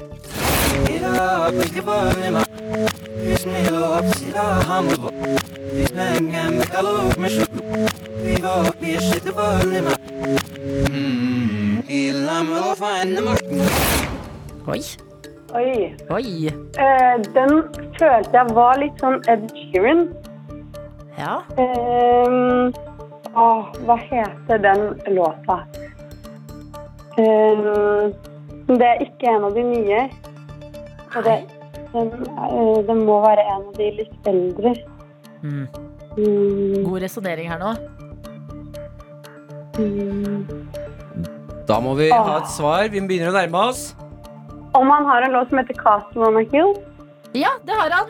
Oi,
Oi.
oi.
Eh, Den følte jeg var litt sånn Ed Sheeran.
Ja.
Ehm, åh, hva heter den låta? Ehm, det er ikke en av de nye. Og det, den, eh, den må være en av de litt eldre.
Mm.
Mm,
God resonnering her nå.
mm.
Da må vi ha et svar. Vi begynner å nærme oss.
Om han har en låt som heter 'Castle on a Hill',
Ja, det har han.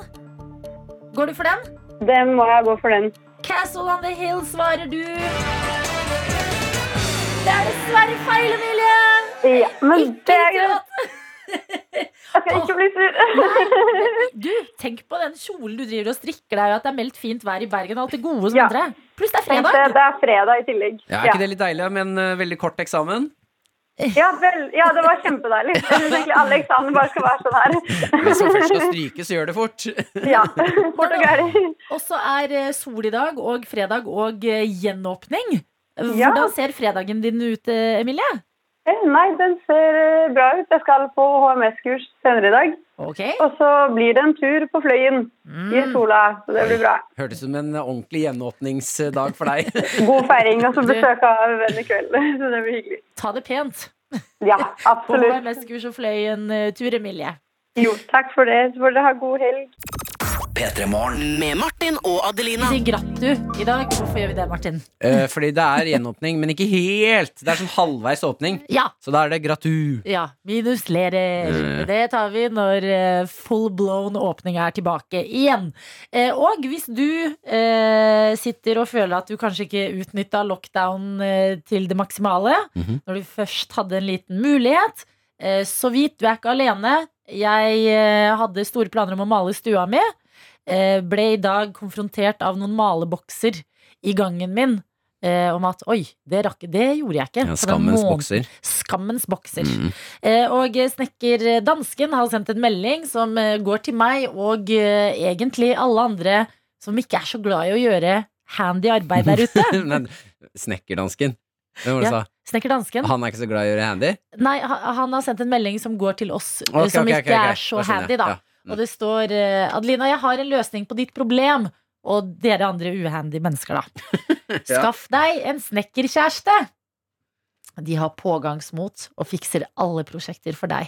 Går du for den?
den må jeg gå for den.
Castle on the Hill, svarer du. Det er dessverre feil, Emilie.
Ja, men det er
Ikke
greit.
sant?
Jeg skal ikke bli sur.
Du, tenk på den kjolen du driver og strikker deg, og at det er meldt fint vær i Bergen. og Alt det gode som
Ja.
andre. Pluss det er
Tenkte jeg,
fredag.
Det er fredag i tillegg.
Ja, er ikke det litt deilig med en eh, veldig kort eksamen?
Ja, vel, ja, det var kjempedeilig. Jeg synes egentlig alle eksamener bare skal være sånn her.
Hvis man først skal stryke, så gjør det fort.
Ja, fort og gærlig.
Og så er eh, sol i dag og fredag og eh, gjenåpning.
Ja.
Hvordan ser fredagen din ut, eh, Emilie?
Eh, Nei, den ser eh, bra ut. Jeg skal på HMS-kurs senere i dag.
Ok.
Og så blir det en tur på Fløyen i sola. Så det blir bra.
Hørtes ut som en eh, ordentlig gjenåpningsdag for deg.
God feiring og så besøk av venn i kveld. Så det blir hyggelig.
Ta det pent.
Ja,
På
absolutt.
HMS-kurs og fløy en eh, tur, Emilie.
Jo, takk for det. Så får dere ha god helg.
P3morgen.
Med Martin og Adelina.
Vi sier grattu i dag. Hvorfor gjør vi det, Martin?
Eh, Fordi det er gjenåpning, men ikke helt. Det er sånn halvveis åpning.
Ja.
Så da er det gratu.
Ja, minus lerer. Det tar vi når eh, full blown åpning er tilbake igjen. Eh, Og hvis du eh, sitter og føler at du kanskje ikke utnytta lockdown eh, til det maksimale,
Mhm.
når du først hadde en liten mulighet, eh, så vidt du er ikke alene. Jeg eh, hadde store planer om å male stua mi. Eh, Ble i dag konfrontert av noen malebokser i gangen min. eh, Om at oi, det, rakk, det gjorde jeg ikke.
Ja,
for den
skammens
må-
bokser.
Skammens bokser.
Mm.
Eh, Og snekker dansken har sendt en melding som eh, går til meg og eh, egentlig alle andre som ikke er så glad i å gjøre handy arbeid der ute.
Men Snekkerdansken. Hvem var det
Ja.
sa?
Snekker dansken.
Han er ikke så glad i å gjøre handy?
Nei, ha- han har sendt en melding som går til oss, eh,
Ok,
som
ok,
ikke
ok, ok.
er så
Da skjønner jeg.
handy, da.
Ja. Mm.
Og det står eh, Adelina, jeg har en løsning på ditt problem. Og dere andre uhandy mennesker, da. Skaff deg en snekkerkjæreste! De har pågangsmot og fikser alle prosjekter for deg.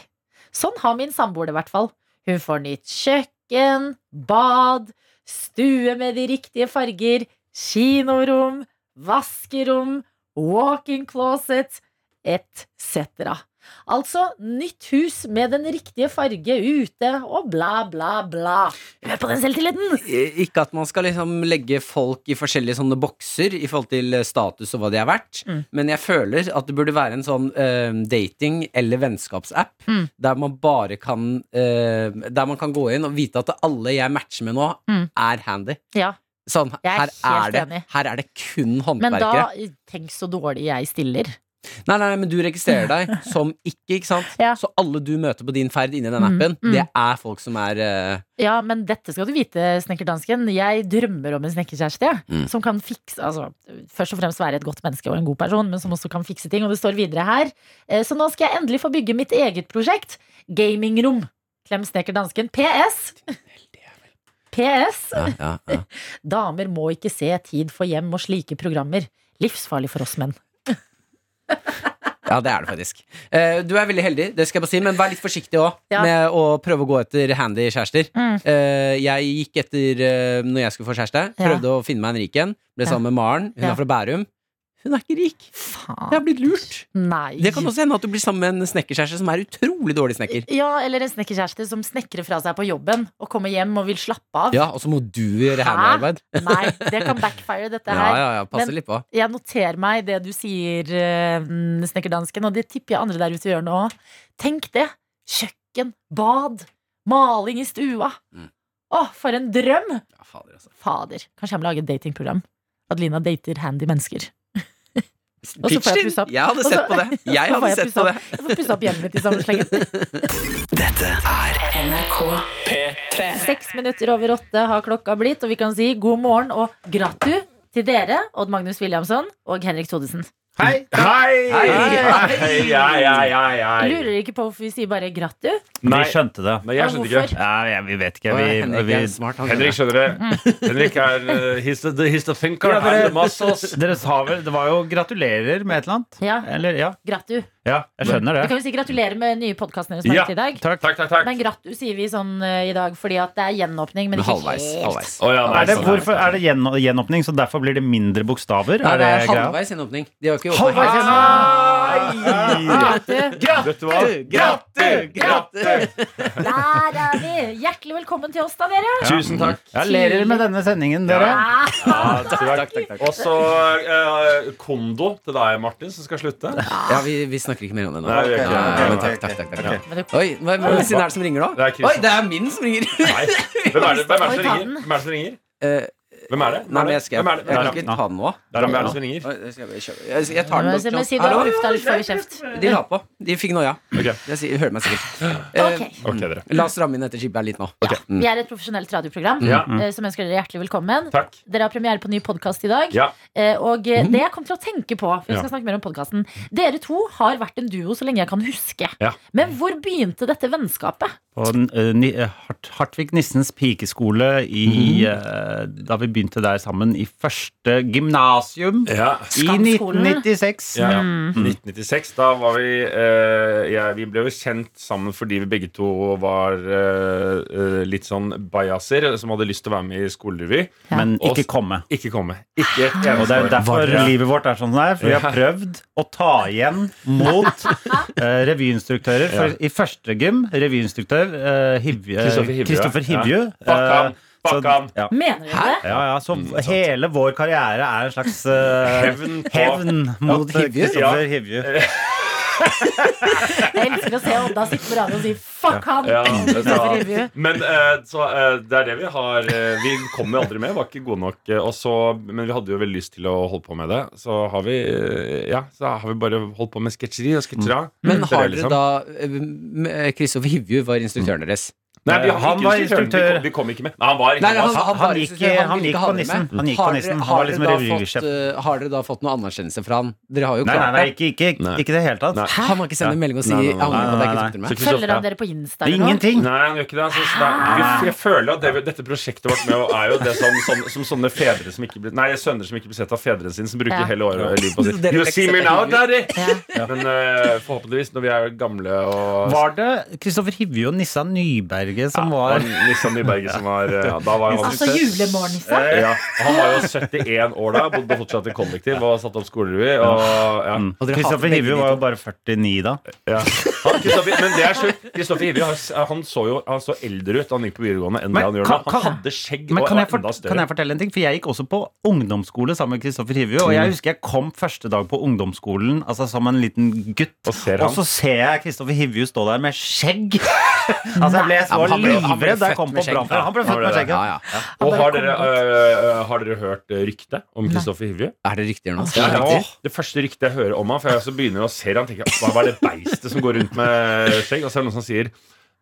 Sånn har min samboer det, i hvert fall. Hun får nytt kjøkken, bad, stue med de riktige farger, kinorom, vaskerom, walk-in closet, etc. Altså nytt hus med den riktige farge ute og bla, bla, bla. Hør på den selvtilliten!
Eh, Ikke at man skal liksom legge folk i forskjellige sånne bokser i forhold til eh, status og hva de er verdt,
Mm.
men jeg føler at det burde være en sånn eh, dating- eller vennskapsapp
Mm.
der man bare kan eh, Der man kan gå inn og vite at alle jeg matcher med nå,
Mm.
er handy.
Ja,
Sånn,
Jeg er
her, er
helt
det,
enig.
her er det kun
Men
håndverkere.
da Tenk så dårlig jeg stiller.
Nei, nei, men du registrerer deg som ikke, ikke sant?
Ja.
Så alle du møter på din ferd inni den
Mm,
appen,
mm.
det er folk som er eh,
Ja, men dette skal du vite, snekkerdansken. Jeg drømmer om en snekkerkjæreste. jeg,
Mm.
Som kan fikse altså, Først og fremst være et godt menneske og en god person, men som også kan fikse ting. Og det står videre her. eh, Så nå skal jeg endelig få bygge mitt eget prosjekt. Gamingrom. Klem snekkerdansken. PS. PS.
ja, ja, ja.
Damer må ikke se Tid for hjem og slike programmer. Livsfarlig for oss menn.
ja, det er det faktisk. Eh, du er veldig heldig, det skal jeg bare si, men vær litt forsiktig òg
Ja.
med å prøve å gå etter handy kjærester.
Mm.
Eh, jeg gikk etter eh, når jeg skulle få kjæreste,
Ja.
prøvde å finne meg en rik en. Ble
Ja.
sammen med Maren, hun
Ja.
er fra Bærum. Hun er ikke rik. Jeg
Faen.
har blitt lurt.
Nei.
Det kan også hende at du blir sammen med en snekkerkjæreste som er utrolig dårlig snekker.
Ja, eller en snekkerkjæreste som snekrer fra seg på jobben og kommer hjem og vil slappe av.
Ja, og så må du gjøre
Hæ?
handyarbeid.
Nei, det kan backfire, dette
Ja,
her.
ja, ja, passer
Men-
litt på.
Jeg noterer meg det du sier, eh, mm, snekkerdansken, og det tipper jeg andre der ute gjør nå òg. Tenk det! Kjøkken, bad, maling i stua.
Mm.
Å, for en drøm!
Ja, fader, altså.
Fader, kanskje jeg må lage et datingprogram. Adelina dater handy mennesker. Og så får jeg
Pitch
pusse opp.
din! Jeg hadde
Og
sett
så-
på det. Jeg
så får
hadde
jeg
sett
pusse
på det.
opp- Jeg får pusse opp hjemmet mitt i samme slengen. Seks minutter over åtte har klokka blitt, og vi kan si god morgen og gratu til dere, Odd Magnus Williamson og Henrik Thodesen.
Hei!
Hei!
Hei, hei, hei, hei,
Jeg
hei.
lurer dere ikke på hvorfor vi sier bare gratu.
Vi skjønte det.
Men jeg skjønte ikke.
Hvorfor?
Ja, jeg, vi vet ikke.
Å,
Vi,
Henrik
vi,
er smart. Han
Henrik
skjønner.
skjønner det. Henrik er uh, he's, the, he's the thinker.
Ja, dere-
I'm the muscles.
Dere sa vel Det var jo gratulerer med et eller annet?
Ja,
Eller, ja.
gratu.
ja jeg skjønner
Vi
det.
kan jo si gratulerer med nye podkasten deres
Ja,
i dag.
Takk.
Takk, takk, takk.
Men gratu sier vi sånn eh, i dag fordi at det er gjenåpning, men
Men
ikke
halvveis.
helt.
halvveis.
Å, ja, nei,
Er det,
sånn er
hvorfor, er det gjen, gjenåpning, så derfor blir det mindre bokstaver?
Nei,
Er
det
det
er
greia? Ah!
halvveis gjenåpning. De har ikke åpnet
Halvveis
helt.
gjenåpning!
Gratu.
Vet du hva?
Gratte, gratte!
Der er vi! Hjertelig velkommen til oss, da, dere.
Tusen takk.
Jeg ler dere med denne sendingen, dere.
Ah,
Ja, takk, takk, takk. Og så eh, kondo til deg, Martin, som skal slutte.
Ja, vi, vi snakker ikke mer om det nå.
Nei, vi gjør ikke det.
Ja, ja, men
Ok,
takk, takk, takk, takk.
Ok.
Men du-
Oi, hvem hvem sin er det som ringer nå?
Det er Chris.
Oi, det er min som ringer!
Nei. Hvem er det, hvem er det
Oi,
som
ta
ringer?
den.
Hvem er det som ringer?
Eh,
Hvem er det?
Nei, men jeg skal
Hvem er det?
Jeg kan
Hvem er det?
ikke ta den nå.
Der er hvem er det som ringer?
Oi, det skal Jeg kjøre. Jeg- jeg tar den
Men
nok.
si- men si du har
Hallo?
lufta litt før vi kjeft.
De la på. De fikk noia.
Ok.
Jeg sier- hører meg sikkert. Eh,
Ok.
Ok, dere.
La oss ramme inn dette skipet her litt nå. Mm.
Vi er et profesjonelt radioprogram
Ja.
eh, som ønsker dere hjertelig velkommen.
Takk.
Dere har premiere på ny podkast i dag.
Ja. Mm.
Eh, Og eh, det jeg kom til å tenke på for Vi
Ja.
skal snakke mer om podcasten Dere to har vært en duo så lenge jeg kan huske.
Ja.
Men hvor begynte dette vennskapet?
På den, eh, ni- eh, Hart- Hartvig Nissens pikeskole i,
Mhm.
eh, da vi begynte der sammen i første gymnasium
Ja.
i
Skamskolen.
1996.
Eh, Ja, ja. 1996, da var vi eh, ja, Vi ble jo kjent sammen fordi vi begge to var eh, eh, litt sånn bajaser som hadde lyst til å være med i skolerevy.
Men
Ja.
ikke komme.
Ikke komme. Ikke et
Og det er jo
eneste år.
derfor livet vårt er sånn som det er. For vi har prøvd å ta igjen mot eh, revyinstruktører. For i første gym, revyinstruktør eh, Hivju- eh,
Kristoffer Hivju,
Kristoffer
ja.
Hivju.
Fuck
eh,
ham, fuck
så-
ham. Mm,
Ja.
Mener dere det?
Ja, ja, så hele vår karriere er en slags eh,
Hevn på-
hevn mot
Ja, Hivju.
Kristoffer Hivju.
Jeg elsker å se Odda sitte på radioen og si 'fuck han'!
Ja, det er
Kristoffer
sant.
Hivju.
men eh, så, eh, det er det vi har. eh, vi kom jo aldri med, var ikke gode nok. eh, og så- men vi hadde jo veldig lyst til å holde på med det. Så har vi, eh, ja, så har vi bare holdt på med sketsjeri og sketsjera.
Men
Det er
har
det,
dere
liksom.
da eh, m- eh, Kristoffer Hivju var instruktøren deres.
Nei, vi, han
Han
var
var
instruktør.
instruktør.
Vi kom ikke med. Nei, han var ikke
Nei,
med
han-
oss.
han
var
gikk- han
instruktør,
gikk
ville
på
ikke ha det
nissen.
med.
Han gikk på
Har dere-
nissen. Han
har
var
dere
liksom
da
revysjef.
fått, uh, Har dere da fått noe anerkjennelse fra han? Dere har jo
Nei, nei,
klart
nei,
det.
ikke, ikke,
Nei.
ikke i det hele tatt.
Nei.
Hæ? Han har ikke sendt en melding og si
Nei, nei, nei,
jeg
nei,
angrer på at jeg
nei.
ikke spurte med.
Følger han dere på Insta?
Det er
eller noe?
ingenting.
Nei, han gjør ikke det. Altså, så det er, jeg, jeg føler at det, dette prosjektet vårt med å- er jo det som, som, som sånne fedre som ikke blir Nei, sønner som ikke blir sett av fedrene sine, som bruker
Ja.
hele året og livet på å
Så
si
dere
You
lekser
see me
det
now,
hele
daddy!
Ja.
Men eh, forhåpentligvis, når vi er gamle og
Var det Kristoffer Hivje og Nissa Nyberget som
var
var
Nissan Nyberget som var eh, ja, Da var han
Altså julemorgenisse?
Eh, ja. Han var jo 71 år da, bodde fortsatt i kollektiv og satte opp skolerevy. Og, ja.
Mm.
Og dere hater
Kristoffer
begge
Hivje
de
var jo
to.
bare 49 da.
Ja. Han, Kristoffer, men det er sjukt. Kristoffer Ivrig har- han så jo han så eldre ut da han gikk på videregående enn det
Men
han gjør nå.
kan-
Han
kan-
hadde skjegg
Men
og
kan jeg,
var
fort,
enda
kan
større.
jeg fortelle en ting? For jeg gikk også på ungdomsskole sammen med Kristoffer Hivju. Og jeg husker jeg kom første dag på ungdomsskolen altså som en liten gutt.
Og ser
Og
han.
så ser jeg Kristoffer Hivju stå der med skjegg! altså jeg ble
Ja,
så
men han ble- han ble
livredd da
født
jeg kom
med
på
skjegg.
brannfaren. Han ble
Ja, han
født med
ble det.
skjegg.
Ja,
ja.
ja.
Og
bare
har dere,
kom
øh, har dere hørt øh, ryktet om Kristoffer Hivju?
Er det riktig, Jonas?
Ja,
Er det
ja.
riktig?
Det første ryktet jeg hører om han For jeg også begynner å se han tenker Hva er det beistet som går rundt med skjegg? Og så er det noen som sier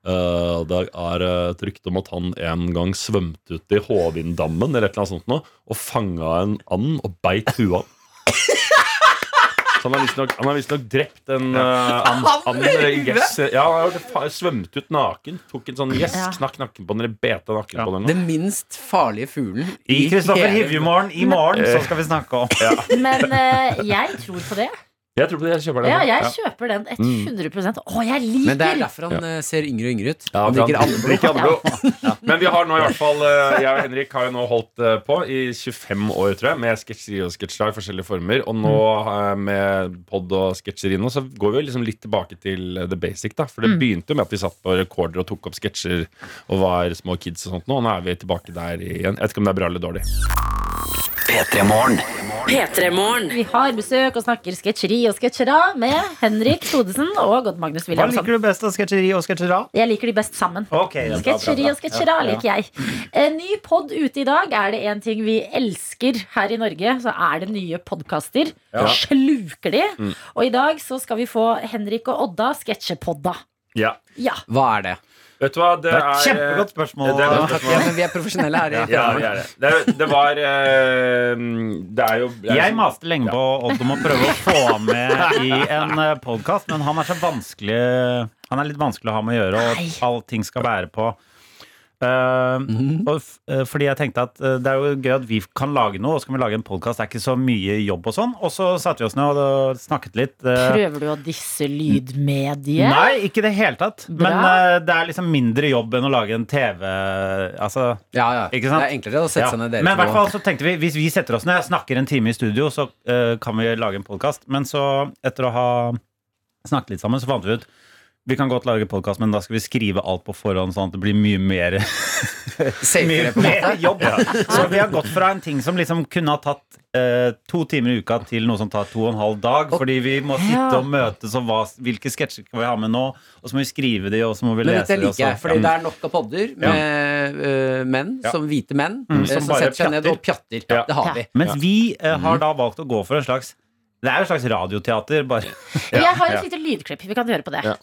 «Eh, Det er et rykte om at han en gang svømte ut i Håvinddammen Eller et eller annet sånt nå Og fanget en and og beit hua av. Så han har visstnok han har visstnok drept en eh, and, and i gjess. Ja, han har gjort det. Fa- svømt ut naken Tok en sånn gjess,
Ja.
knakk nakken på den Eller beta nakken på den eller noe.
Den minst farlige fuglen
I Kristoffer
hele-
Hivju-morgen i morgen så skal vi snakke om
Men eh, jeg tror på det.
Jeg tror på det, jeg kjøper det
Ja, jeg kjøper
Mm.
den 100 Å, jeg
Men det
liker!
er derfor han eh, ser yngre og yngre ut.
Ja, for
han drikker alle
drikker Alnebro. Men vi har nå i hvert fall eh, Jeg og Henrik har jo nå holdt eh, på i 25 år, tror jeg, med sketsjer og sketsjer i forskjellige former. Og nå
Mm.
eh, med pod og sketsjer inne, så går vi jo liksom litt tilbake til eh, the basic, da.
Mm.
For det begynte jo med at vi satt på rekorder og tok opp sketsjer og var små kids og sånt nå. Og nå er vi tilbake der igjen. Jeg vet ikke om det er bra eller dårlig.
P3 Morgen.
Vi har besøk og snakker sketsjeri og sketsjera med Henrik Thodesen og Odd Magnus
Hva
Williamson.
liker du best av sketsjeri og sketsjera?
Jeg liker de best sammen.
Okay, ja, bra, bra,
Sketsjeri
bra.
og sketsjera
Ja, ja.
liker jeg. En ny pod ute i dag. Er det én ting vi elsker her i Norge, så er det nye podkaster. Sluker de.
Mm.
Og i dag så skal vi få Henrik og Odda sketsjepodda.
Ja.
Ja.
Hva er det?
Vet du hva, det
Det
er
er et kjempegodt spørsmål.
Det er et godt
Takk, ja, men vi er profesjonelle her. i
Ja, det
programmet.
er det. Det, er- det var eh, Det er jo det er
Jeg
jo-
maste lenge på Odd om å prøve å få han med i en podkast, men han er så vanskelig Han er litt vanskelig å ha med å gjøre, og allting skal være på. Eh, og f eh, fordi jeg tenkte at eh, det er jo gøy at vi kan lage noe, og så kan vi lage en podkast. Det er ikke så mye jobb og sånn. Og så satte vi oss ned og eh, snakket litt. eh,
Prøver du å disse lydmediet?
Nei, ikke i det hele tatt. Men
Bra.
eh, det er liksom mindre jobb enn å lage en TV Altså
Ja, ja.
Ikke sant?
Det er enklere å sette
Ja.
seg ned dere
Men i
to.
hvert fall så tenkte vi Hvis vi setter oss ned og snakker en time i studio Så eh, kan vi lage en podcast Men så etter å ha snakket litt sammen Så fant vi ut Vi kan godt lage podcast Men da skal vi skrive alt på forhånd Sånn at det blir mye mer, mye
Safere på
mer jobb Så vi har gått fra en ting som liksom kunne ha tatt eh, to timer i uka Til noe som tar to og en halv dag Fordi vi må sitte
Ja.
og møtes Og hva, hvilke sketsjer skal vi ha med nå Og så må vi skrive de Og så må vi
Men
lese de,
dette
og
liker
så-
jeg, fordi det er nok av podder med eh, menn,
Ja. Mm.
som hvite menn, eh,
som
som,
bare
setter seg ned og pjatter.
Ja.
Det har
Ja.
vi.
Mens vi eh, har da valgt å gå for en slags Det er jo et slags radioteater Bare
Jeg har
ja.
et lite lydklipp. Vi kan høre på det.
Ja.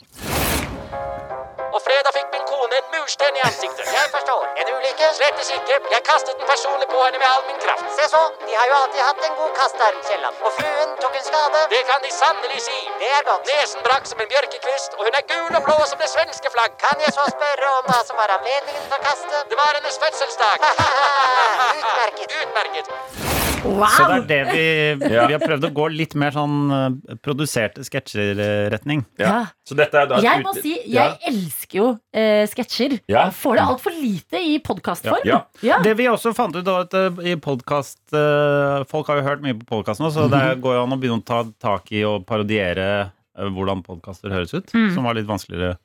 Og fredag fikk min kone en murstein i ansiktet. Jeg forstår. En ulykke? Slettes ikke. Jeg kastet den personlig på henne med all min kraft. Se så, de har jo alltid hatt en god kastearm, Kielland. Og fruen tok en skade. Det kan de sannelig si. Det er godt. Nesen brakk som en bjørkekvist, og hun er gul og blå som det svenske flagg. Kan jeg så spørre om hva som var anledningen til å kaste? Det var hennes fødselsdag. Utmerket. Utmerket.
Så
Wow!
det er det vi,
Ja.
vi har prøvd å gå litt mer sånn eh, produserte sketsjer-retning.
Ja.
Så dette er da et
Jeg må
ut-
si,
Ja.
jeg elsker jo eh, sketsjer.
Ja. Mm.
Får det altfor lite i podkastform.
Ja.
Det vi også fant ut da, at eh, i podcast, eh, Folk har jo hørt mye på podkast nå, så det går jo an å begynne å ta tak i og parodiere eh, hvordan podkaster høres ut, som var litt vanskeligere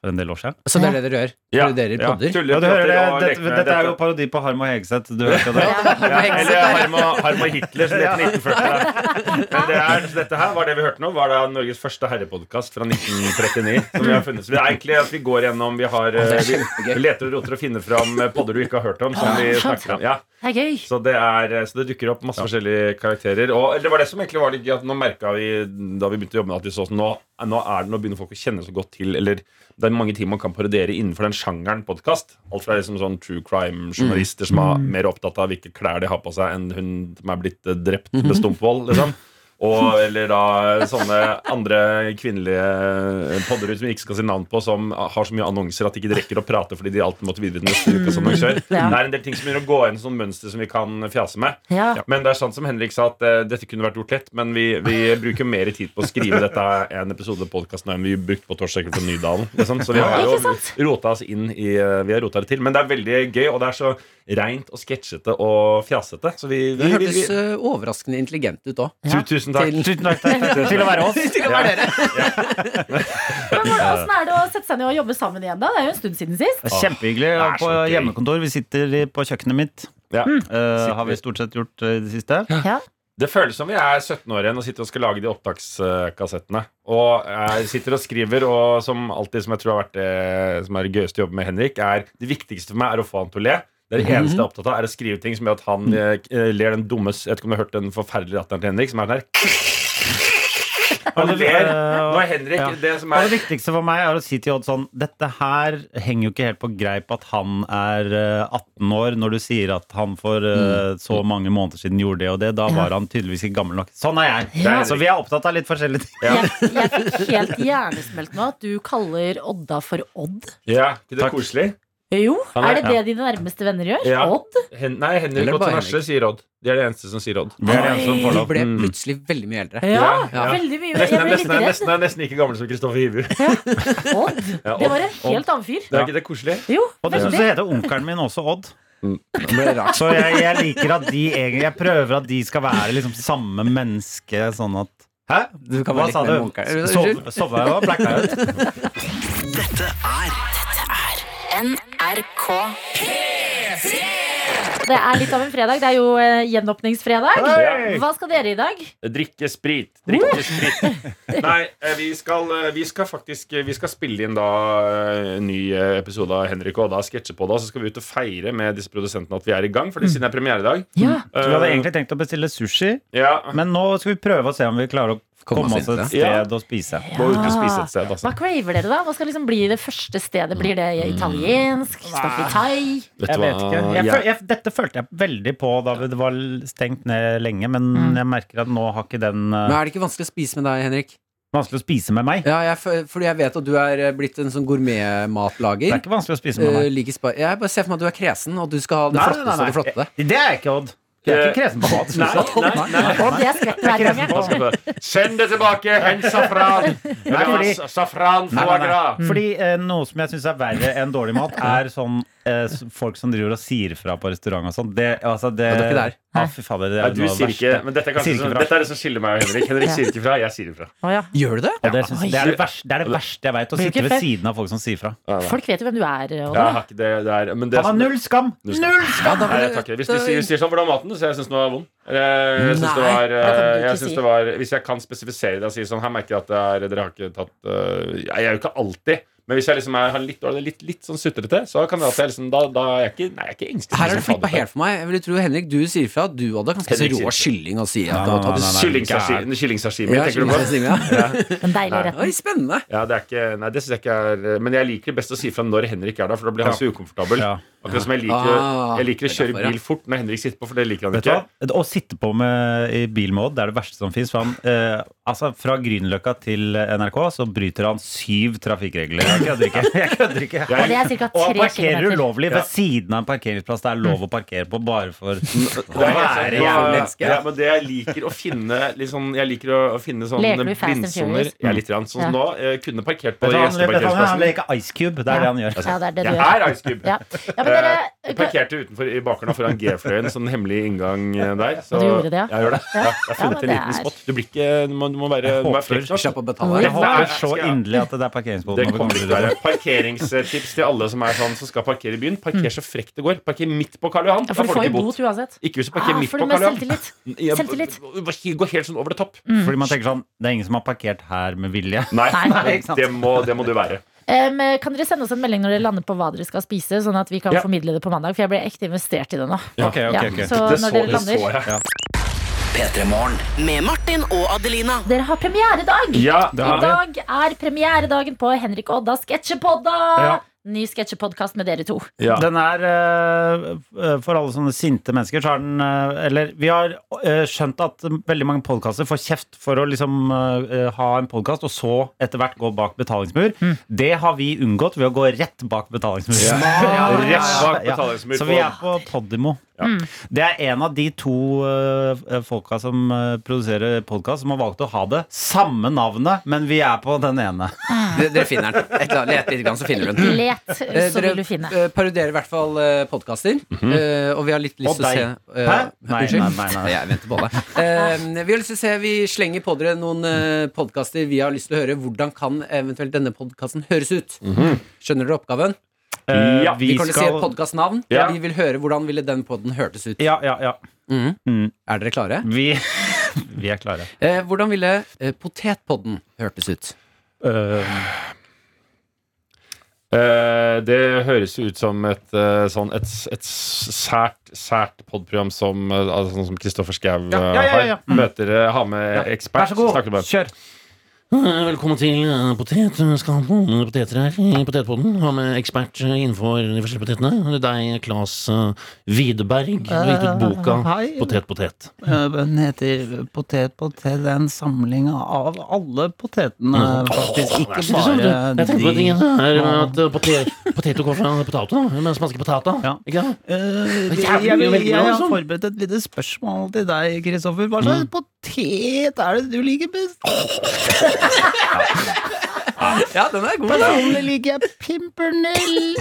for en del år siden.
Så det er det dere gjør.
Ja.
Dere
Ja.
podder.
Tuller,
Ja, du hører det,
prater og leker
dette,
med
dette er
dette.
jo parodi på Harm og Hegseth. Du hørte jo det.
Ja, eller Harm og- Harm og Hitler, som det heter 1940. Men det er, dette her var det vi hørte nå, var da Norges første herrepodkast fra 1939. Som vi har funnet. Så det er egentlig at vi går gjennom Vi, har, eh,
er
vi vi
kjempegøy.
leter og roter og finner fram eh, podder du ikke har hørt om. Som vi snakker om. Ja.
Det er gøy.
Så det, er, så det dukker opp masse forskjellige karakterer. Og det var det som egentlig var litt gøy. at Nå merket vi da vi begynte å jobbe med at vi så sånn, nå, nå er det, nå begynner folk å kjenne så godt til Eller det er mange ting man kan parodiere innenfor den sjangeren podkast. Alt fra liksom sånn true crime-journalister som er mer opptatt av hvilke klær de har på seg, enn hun som er blitt eh, drept med stumpvoll. Liksom. Og, eller da sånne andre kvinnelige podderud som vi ikke skal si navn på, som har så mye annonser at de ikke rekker å prate fordi de alltid måtte videre til neste ukes annonsør.
Mm, Ja.
Det er en del ting som begynner å gå inn i sånn mønster som vi kan fjase med.
Ja.
Men det er sant som Henrik sa, at eh, dette kunne vært gjort lett, men vi, vi bruker mer tid på å skrive dette en episode av podkasten enn vi brukte på Torsdager på Nydalen. Liksom. Så vi har jo rota oss inn i eh, Vi har rota det til. Men det er veldig gøy, og det er så reint og sketsjete og fjasete. Så vi,
Det
vi, vi,
hørtes
vi
eh, overraskende intelligent ut òg.
Tu- Tusen takk.
Til-
Tusen takk takk, til å være oss.
Men hvordan hvordan er det å sette seg ned og jobbe sammen igjen, da? Det er jo en stund siden sist.
Det er kjempehyggelig.
det er
På
så gøy.
hjemmekontor. Vi sitter i- på kjøkkenet mitt.
Ja.
Eh, har vi stort sett gjort eh, i det siste.
Det føles som vi er 17 år igjen og sitter og skal lage de opptakskassettene. Og jeg sitter og skriver, og som alltid som jeg tror har vært det som er det gøyeste å jobbe med Henrik, er det viktigste for meg er å få han til å le. Det er det
Mhm.
eneste jeg er opptatt av, er å skrive ting som gjør at
Mm.
han eh, k- eh, ler den dumme Jeg vet ikke om du har hørt den forferdelige latteren til Henrik, som er den her. Han ler når Henrik
eh, Ja.
Det som
Og
er
det viktigste for meg er å si til Odd sånn Dette her henger jo ikke helt på greip at han er eh, 18 år når du sier at han for eh, så mange måneder siden gjorde det og det. Da var han tydeligvis ikke gammel nok. Sånn er jeg.
Ja.
Så vi er opptatt av litt forskjellige ting.
Jeg, jeg fikk helt hjernesmelt nå at du kaller Odda for Odd.
Ja, ikke det
Takk.
er koselig?
Jo,
Han er-
er det det dine nærmeste venner gjør?
Ja.
Odd?
Hen, nei, Henrik
Eller
og
bare
Tonasje
Henrik.
sier Odd. De er de eneste som sier Odd.
Det er det eneste som får
Du
lov.
ble
Mm.
plutselig veldig mye eldre.
Ja,
Ja.
veldig mye. Jeg
Nesten,
ble litt
nesten,
redd.
nesten, nesten like gammel som Kristoffer Hivu. Det
Odd?
Ja,
Det
Odd,
var en helt annen fyr.
er ikke det koselig?
Jo,
Og dessuten så
veldig.
heter onkelen min også Odd.
Det ble rart.
Så jeg, jeg liker at de egentlig Jeg prøver at de skal være liksom samme menneske, sånn at Hæ?
Du kan
Hva
være litt
sa
mer
du?
munker. Eh, unnskyld.
Sov- Sovna jeg nå? Blacka jeg ut?
NRK.
Det er litt av en fredag. Det er jo eh, gjenåpningsfredag.
Hei!
Hva skal dere i dag?
Drikke sprit. Drikke sprit. Nei, eh, vi skal, eh, vi skal faktisk eh, Vi skal spille inn da eh, en ny eh, episode av Henrik og da sketsje på det. og Så skal vi ut og feire med disse produsentene at vi er i gang,
Mm.
Fordi siden det er premiere i dag. Eh,
Ja.
Så vi hadde egentlig tenkt å bestille sushi,
ja,
men nå skal vi prøve å se om vi klarer å
Komme
komme
oss
oss
inn
et
til det.
sted å spise.
Må ut og spise et sted, altså.
Hva craver dere, da? Hva skal liksom bli det første stedet? Blir det italiensk? Skal vi thai?
Vet
Jeg
du hva?
vet ikke. Jeg,
Ja.
føl- jeg, dette følte jeg veldig på da det var l- stengt ned lenge, men jeg merker at nå har ikke den
Men
eh,
er det ikke vanskelig å spise med deg, Henrik?
Vanskelig å spise med meg.
Ja, jeg, f- fordi jeg vet at du er eh, blitt en sånn
Det
gourmetmatlager.
er ikke vanskelig å spise med
Eh,
meg.
liker spa- jeg bare ser for meg at du er kresen, og du skal ha det
Nei, nei,
flotteste
nei,
av det flotte.
Det Eh, er jeg ikke, Odd. Jeg er ikke kresen på mat.
Nei, nei, nei.
Og det skvetter hver gang. jeg-
Hva skal du- Send det tilbake! Hent safran! Jeg vil ha
fordi-
sa- Safran
Nei,
foie
nei,
gras!
nei. Fordi eh, Noe som jeg syns er verre enn dårlig mat, er sånn eh, s- folk som driver og sier fra på restaurant og sånn. Det, altså, det,
Ja, det er ikke der.
Ja, fy fader, det
Nei,
er
du
noe av det
sier ikke
verste.
Men dette er,
Jeg
kanskje,
sier ikke
sånn-
fra.
dette er det som skiller meg og Henrik. Henrik sier ikke fra, jeg sier ifra.
Å, ja.
Gjør du det?
Og det, syns, det, er det, verste, det er det verste jeg veit. Å sitte ved
Bruker
siden av folk som sier fra.
Folk vet jo hvem du er,
Ja, jeg
Odda.
har ikke det, det er, sånn- men det
Han har null skam!
Null skam.
Null skam!
da
Nei, jeg tar ikke det. Hvis du sier, sier sånn, hvordan var maten? Så jeg syns den var vond. Eller, jeg synes det
Nei,
var,
det kan du
eh,
ikke
jeg
si.
synes det var Hvis jeg kan spesifisere det og si sånn Her merker jeg at det er, dere har ikke tatt eh, Jeg er jo ikke alltid men hvis jeg liksom er, har litt, dårlig- litt, litt sånn sutrete, så kan det at jeg liksom Da, da er jeg ikke, nei, jeg er ikke engstelig.
Her er det
som
flippa
fader.
helt for meg. Jeg ville tro Henrik, du sier fra at du hadde ganske så
Henrik sier
rå
fra.
kylling og sier at
Nei,
du har
nei,
tatt
nei, nei.
Kyllingsashimi, kyllingsashimi,
Ja,
tenker du på?
kylling, ja.
En deilig rett.
Oi, spennende.
Ja, det er ikke, nei, det synes jeg ikke er eh, Men jeg liker best å si fra når Henrik er der, for da blir han så ukomfortabel.
Ja.
Akkurat som jeg liker,
Ah,
jeg liker å
det er
kjøre
derfor, ja.
bil fort når Henrik sitter på, for det liker han
Vet du
ikke.
hva? Å sitte på med i bil med Odd det er det verste som fins. Eh, altså, fra Grünerløkka til NRK så bryter han syv trafikkregler. Jeg kødder ikke. Jeg kødder ikke.
Og det er cirka
Og han
tre
parkerer
kilometer.
ulovlig ved siden av en parkeringsplass det er lov å parkere på bare for
Det er helt
Være
sant.
jævlig
menneske.
Ja, men det jeg liker å finne litt sånn- Jeg liker å, å finne sånne
Leker du i Fast and
blindsoner
Furious?
Ja, litt grann. Sånn som
Ja.
nå. Jeg kunne parkert på
Vet du hva, Han vet du hva, han
gjesteparkeringsplassen.
leker Ice Cube. Det er det han gjør.
Ja, det er det du
Jeg
gjør.
er Ice Cube.
Ja. Ja, men dere,
Jeg parkerte utenfor i bakgrunnen foran G-fløyen, sånn hemmelig inngang eh, der. Så
Og du gjorde det, ja?
Jeg gjør det. Ja, jeg har
Ja, men
funnet en
det
liten
er-
spot. Du blir ikke Du må, du må være du
Jeg
må være
håper-
flink nok.
Slapp å betale.
Jeg
her.
Nei,
håper
jeg
så
skal-
inderlig at det er
Det
parkeringsboden. når vi
kommer
kommer
ikke til å
videre.
være Parkeringstips til alle som, er sånn, som skal parkere i byen. Parker så frekt det går. Parker midt på Karl Johan.
Mm. Ja,
Da
for du får jo
ikke
bot uansett.
Ikke hvis du
Ah,
parkerer midt
får du
på
mer
Karl Johan.
selvtillit?
Ja,
Selvtillit.
Gå helt sånn over det topp.
Mm.
Fordi man tenker sånn Det er ingen som har parkert her med vilje.
Nei,
Nei,
ikke sant.
det, må, det må du være.
Em, Eh, kan dere sende oss en melding når dere lander på hva dere skal spise, sånn at vi kan
Ja.
formidle det på mandag? For jeg ble ekte investert i det nå.
Ok, ok,
Ja,
ok.
så
Det
når
så,
dere
det så
lander
jeg.
P3-morgen.
Med Martin og Adelina.
Dere har premieredag!
Ja,
Det
I
har vi.
dag er premieredagen på Henrik og Odda Sketsjepodda!
Ja.
Ny sketsjepodkast med dere to.
Ja.
Den er eh, For alle sånne sinte mennesker, så er den eh, Eller vi har eh, skjønt at veldig mange podkaster får kjeft for å liksom eh, ha en podkast, og så etter hvert gå bak betalingsmur. Det har vi unngått ved å gå rett bak betalingsmur.
Rett bak
Ja. Mm.
betalingsmur
Så
på-
vi er på Podimo. Det er en av de to eh, folka som eh, produserer podkast, som har valgt å ha det samme navnet, men vi er på den ene.
Dere, dere finner den. Et eller annet, let litt, grann, så finner du den.
Let,
Eh,
så
Dere
vil du finne.
eh, parodierer i hvert fall eh, podkaster. eh, Og vi har litt
Mhm. Og
lyst til å
deg.
se eh,
Hæ? Nei,
Unnskyld?
nei, nei, nei.
Jeg venter på deg. Eh, Vi har lyst til å se Vi slenger på dere noen eh, podkaster vi har lyst til å høre. Hvordan kan eventuelt denne podkasten høres ut?
Mhm.
Skjønner dere oppgaven?
Eh,
Ja,
Vi, kan jo se podkastnavn.
Ja.
Vi vil høre hvordan ville den podden hørtes ut.
Ja, ja, ja.
Mhm.
Mm.
Er dere klare?
Vi, vi er klare.
Eh, hvordan ville eh, potetpodden hørtes ut?
Ehm, Eh, det høres jo ut som et, eh, sånn, et, et sært, sært podprogram som eh, altså, sånn som Kristoffer Schau eh,
Ja, ja, ja, ja.
har. Møter, eh, har med ekspert.
Vær så god,
snakker med-
kjør.
Velkommen til eh, potetskapet. Poteter her i potetpodden. Har med ekspert eh, innenfor de forskjellige potetene. Det er deg, Claes eh, Widerberg. Du har gitt ut boka
Eh, hei.
Potet, potet.
Eh, Den heter Potet potet. Det er en samling av alle potetene,
Mm.
faktisk. Ikke
Så
bare
interessant, du. Jeg tenkte på
de
tingen her, at eh, potet, potet går fra potato, men smasker potata.
Ja.
Ikke sant?
Eh, det-
Det er
jeg,
jævlig mye å
vil-
velge
jeg
mellom,
har
liksom. Mm.
forberedt et lite spørsmål til deg, Kristoffer. Hva slags potet er det du liker best?
Ja, den er god.
Personlig liker jeg pimpernell,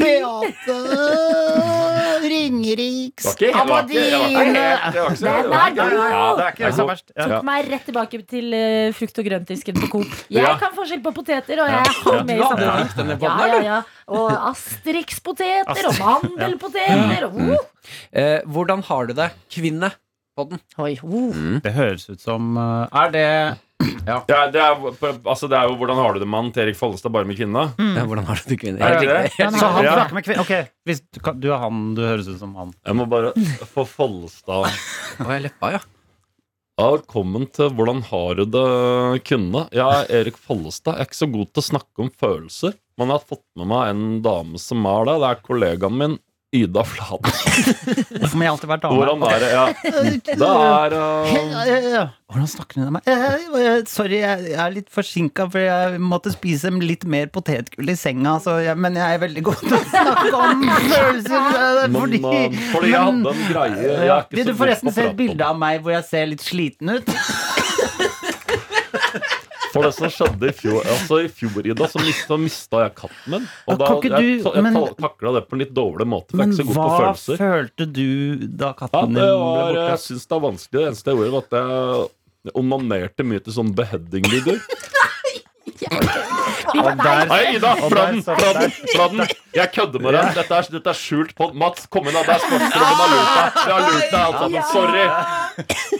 Beate, Ringeriks
Det var ikke- det var ikke- det var ikke helt- det var ikke
Nei,
så- det var
nei,
ikke-
nei, nei.
Ja, det er ikke
Ja.
så verst. Ja.
Tok meg rett tilbake til eh, frukt- og grøntdisken på Coop. Jeg
Ja.
kan forskjell på poteter, og jeg hang med i
hadde brukt
samtalen.
denne
Ja,
bånden,
ja, ja. Og Asterix-poteter, og mandelpoteter, og oh.
Eh, hvordan har du det, kvinne? Podden.
Oi, oh.
Det høres ut som eh, Er det
Ja, det, er, altså, det er jo Hvordan har du det, mann? Til Erik Follestad, bare med kvinna?
Ja, hvordan har du det, kvinne?
Er det
Helt
det?
riktig.
Så han
Ja.
snakker med kvinner Ok, hvis du, kan, du er han, du høres ut som han.
Jeg må bare få Follestad
Å, jeg leppa, ja.
Ja, Velkommen til Hvordan har du det, kvinne? Jeg er Erik Follestad. Jeg er ikke så god til å snakke om følelser, men jeg har fått med meg en dame som er det. Det er kollegaen min, Ida Fladen.
Hvorfor må jeg alltid være
Hvordan er det? Ja. Det er eh,
Eh, Hvordan snakker hun til meg? Eh, eh, Sorry, jeg jeg er litt forsinka, for jeg måtte spise litt mer potetgull i senga, så jeg, men jeg er veldig god til å snakke om følelser. eh,
men,
Fordi,
eh, Fordi jeg hadde en greie jeg er ikke
Vil du
så god
forresten
på å
se
prate
et bilde
om.
av meg hvor jeg ser litt sliten ut?
For det som skjedde i fjor, altså i fjor Ida, så mista, mista jeg katten min. Og da,
Kan ikke
jeg
du-
ta- jeg
men-
ta- takla det på en litt dårlig måte. For jeg er
Men
ikke så god på
hva
følelser.
følte du da
Ja,
katten din
det var, eh,
ble
jeg
borte?
syns det er vanskelig. Det eneste jeg gjorde, var at jeg onanerte mye til sånn beheading-videoer.
Og der,
Hei, Ida!
og
Fra
der
den,
satt-
fra
der-
den, fra den. Jeg kødder med deg. Dette er, dette er skjult på Mats, kom inn, da. Det er sportsklubben som har lurt deg. Vi har lurt deg, alle sammen. Sorry.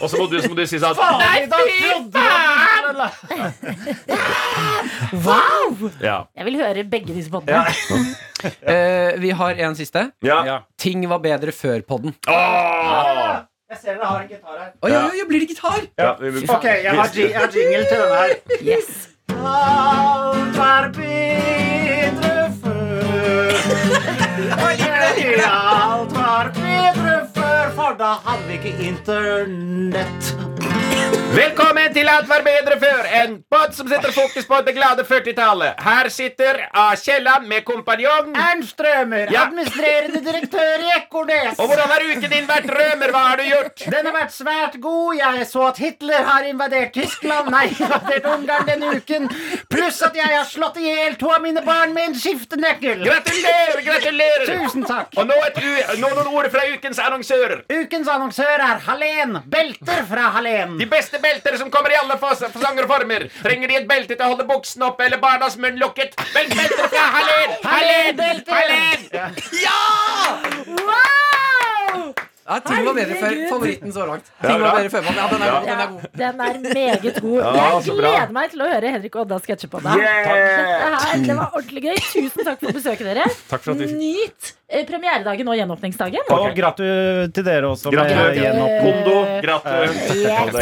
Og så må du, så må du si sånn Nei,
Wow!
Ja.
Jeg vil høre begge disse podene.
Eh, vi har en siste.
ja.
Ting var bedre før podden.
Åh!
Jeg ser dere har en gitar her.
Å ja, ja, ja, blir det gitar?
Ja, vi- vi-
Ok, jeg har, ji- jeg har jingle til denne her.
Yes.
Alt er bedre før. Alt var bedre før, for da hadde vi ikke internett.
Velkommen til Alt var bedre før, en båt som setter fokus på det glade 40-tallet. Her sitter A. Kielland med kompanjong.
Ernst Rømer, administrerende direktør i Ekornes.
Og hvordan har uken din vært, Rømer? Hva har du gjort?
Den har vært svært god. Jeg så at Hitler har invadert Tyskland. Nei, invadert Ungarn denne uken. Pluss at jeg har slått i hjel to av mine barn med en skiftenøkkel.
Gratulerer, gratulerer!
Tusen takk.
Og nå, et u nå noen ord fra ukens annonsører.
Ukens annonsør er Hallén. Belter fra Hallén.
De beste belter som kommer i alle fas- fasonger og former. Trenger de et belte til å holde buksen oppe eller barnas munn lukket? Vent, belter fra Hallén! Hallén!
Hallén-belter!
Hallén!
Ja! Ja, ting var bedre før.
Herregud.
Favoritten så langt.
Ja,
Ting var
bra.
bedre før. Ja, den er god.
Ja,
Den er god.
den er meget god.
Ja,
Jeg
så bra.
gleder meg til å høre Henrik og Odda sketsje på deg.
Yeah!
Dette her, det var ordentlig gøy. Tusen takk for besøket, dere.
Takk for at vi fikk-
Nyt eh, premieredagen og gjenåpningsdagen.
Og gratu til dere også. med
Gratu.
gjenåpning.
Kondo,
Mm. Eh,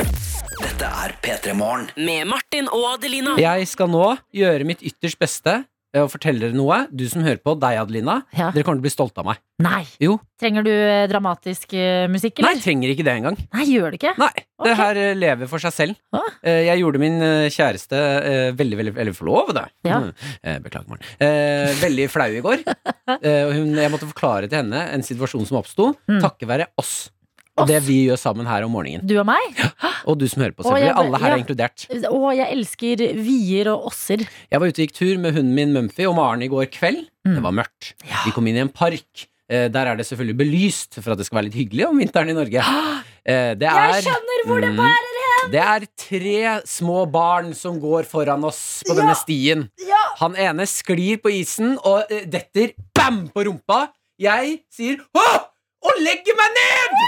Dette er P3 Morgen.
Med Martin og Adelina.
Jeg skal nå gjøre mitt ytterst beste eh, og fortelle dere noe. Du som hører på, deg, Adelina.
Ja.
Dere kommer til å bli stolte av meg.
Nei.
Jo.
Trenger du eh, dramatisk eh, musikk,
Nei,
eller?
trenger ikke det engang.
Nei, gjør det ikke?
Det her eh, lever for seg selv. Eh, Jeg gjorde min eh, kjæreste eh, veldig, veldig, veldig forlovet, jeg.
Ja.
Mm. Eh, Beklager, Maren. Eh, Veldig flau i går. Eh, og hun, jeg måtte forklare til henne en situasjon som oppsto,
Mm.
takket være oss. Og det vi gjør sammen her om morgenen.
Du og meg?
Og du som hører på,
Å, jeg
selvfølgelig.
ble-
Alle her
ja.
er inkludert.
Å, jeg elsker vier og åsser.
Jeg var ute og gikk tur med hunden min Mumphy og Maren i går kveld.
Mm.
Det var mørkt. Vi kom inn i en park. Eh, Der er det selvfølgelig belyst for at det skal være litt hyggelig om vinteren i Norge. Eh, Det er,
Jeg skjønner hvor det
Mm.
bærer hen!
Det er tre små barn som går foran oss på denne stien. Han ene sklir på isen og eh, detter bam på rumpa. Jeg sier hå! Og legger meg ned!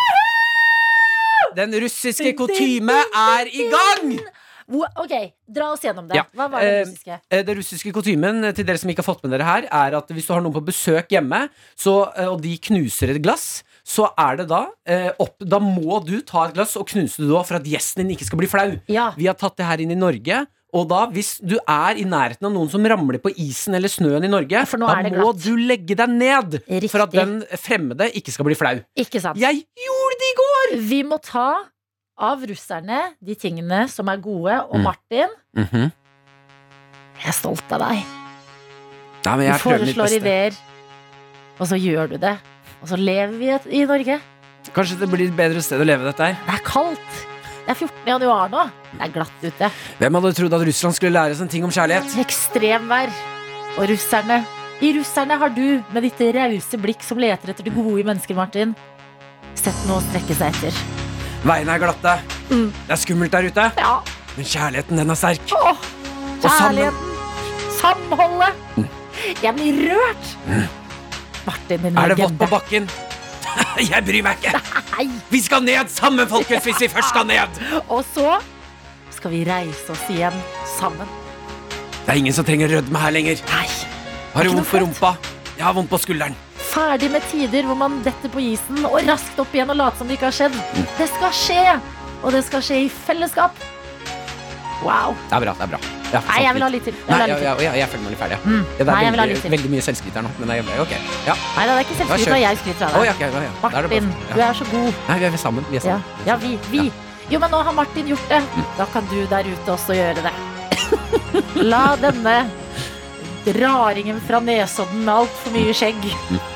Den russiske kutyme er i gang!
Hvor- Ok, dra oss gjennom det.
Ja.
Hva var det
Eh,
russiske?
Eh, Det russiske kutymen eh, til dere som ikke har fått med dere her, er at hvis du har noen på besøk hjemme, så, eh, og de knuser et glass, så er det da eh, opp Da må du ta et glass og knuse det da for at gjesten din ikke skal bli flau. Vi har tatt det her inn i Norge. Og da, hvis du er i nærheten av noen som ramler på isen eller snøen i Norge,
nå
da
er det
må
glatt.
du legge deg ned for at
Riktig.
den fremmede ikke skal bli flau.
Ikke sant?
Jeg gjorde det i går!
Vi må ta av russerne de tingene som er gode, og
Mm.
Martin,
Mhm.
jeg er stolt av deg.
Nei, men
Du
jeg prøver mitt
foreslår
beste.
ideer, og så gjør du det. Og så lever vi et- i Norge.
Kanskje det blir et bedre sted å leve dette her.
Det er kaldt. Det er 14. januar nå. Det er glatt ute.
Hvem hadde trodd at Russland skulle lære oss en ting om kjærlighet?
Ekstremvær. Og russerne. I russerne har du, med ditt rause blikk som leter etter det gode i mennesker, Martin, sett noe å strekke seg etter.
Veiene er glatte.
Mm.
Det er skummelt der ute.
Ja.
Men kjærligheten, den er sterk.
Åh,
Og sammen
kjærligheten. Samholdet.
Mm.
Jeg blir rørt. Martin, din
er det
legende.
vått på bakken. Jeg bryr meg ikke. Vi skal ned sammen, folkens, hvis vi først skal ned.
Og så skal vi reise oss igjen sammen.
Det er ingen som trenger rødme her lenger. Har du
Ikke noe
vondt på rumpa? Jeg har vondt på skulderen.
Ferdig med tider hvor man detter på isen og raskt opp igjen og later som det ikke har skjedd.
Mm.
Det skal skje! Og det skal skje i fellesskap. Wow.
Det er bra. det er bra Ja,
Nei, jeg vil ha litt til. Jeg vil
sånn Nei,
ha
jeg,
litt til.
jeg, jeg, jeg føler meg litt ferdig. ja.
Mm.
Ja, det er
Nei, jeg vil ha
veldig,
litt til.
veldig mye selvskryt her nå. Men det er, ok, ja.
Nei, det er ikke
Ja,
selvskryt
kjør.
når jeg skryter av
Å, ja,
deg.
ok, ja, ja. Da er det bare-
Martin,
ja.
du er så god.
Nei, vi er sammen. Vi
Ja,
er sammen.
ja vi. vi. Jo, men nå har Martin gjort det.
Mm.
Da kan du der ute også gjøre det. La denne raringen fra Nesodden med altfor mye skjegg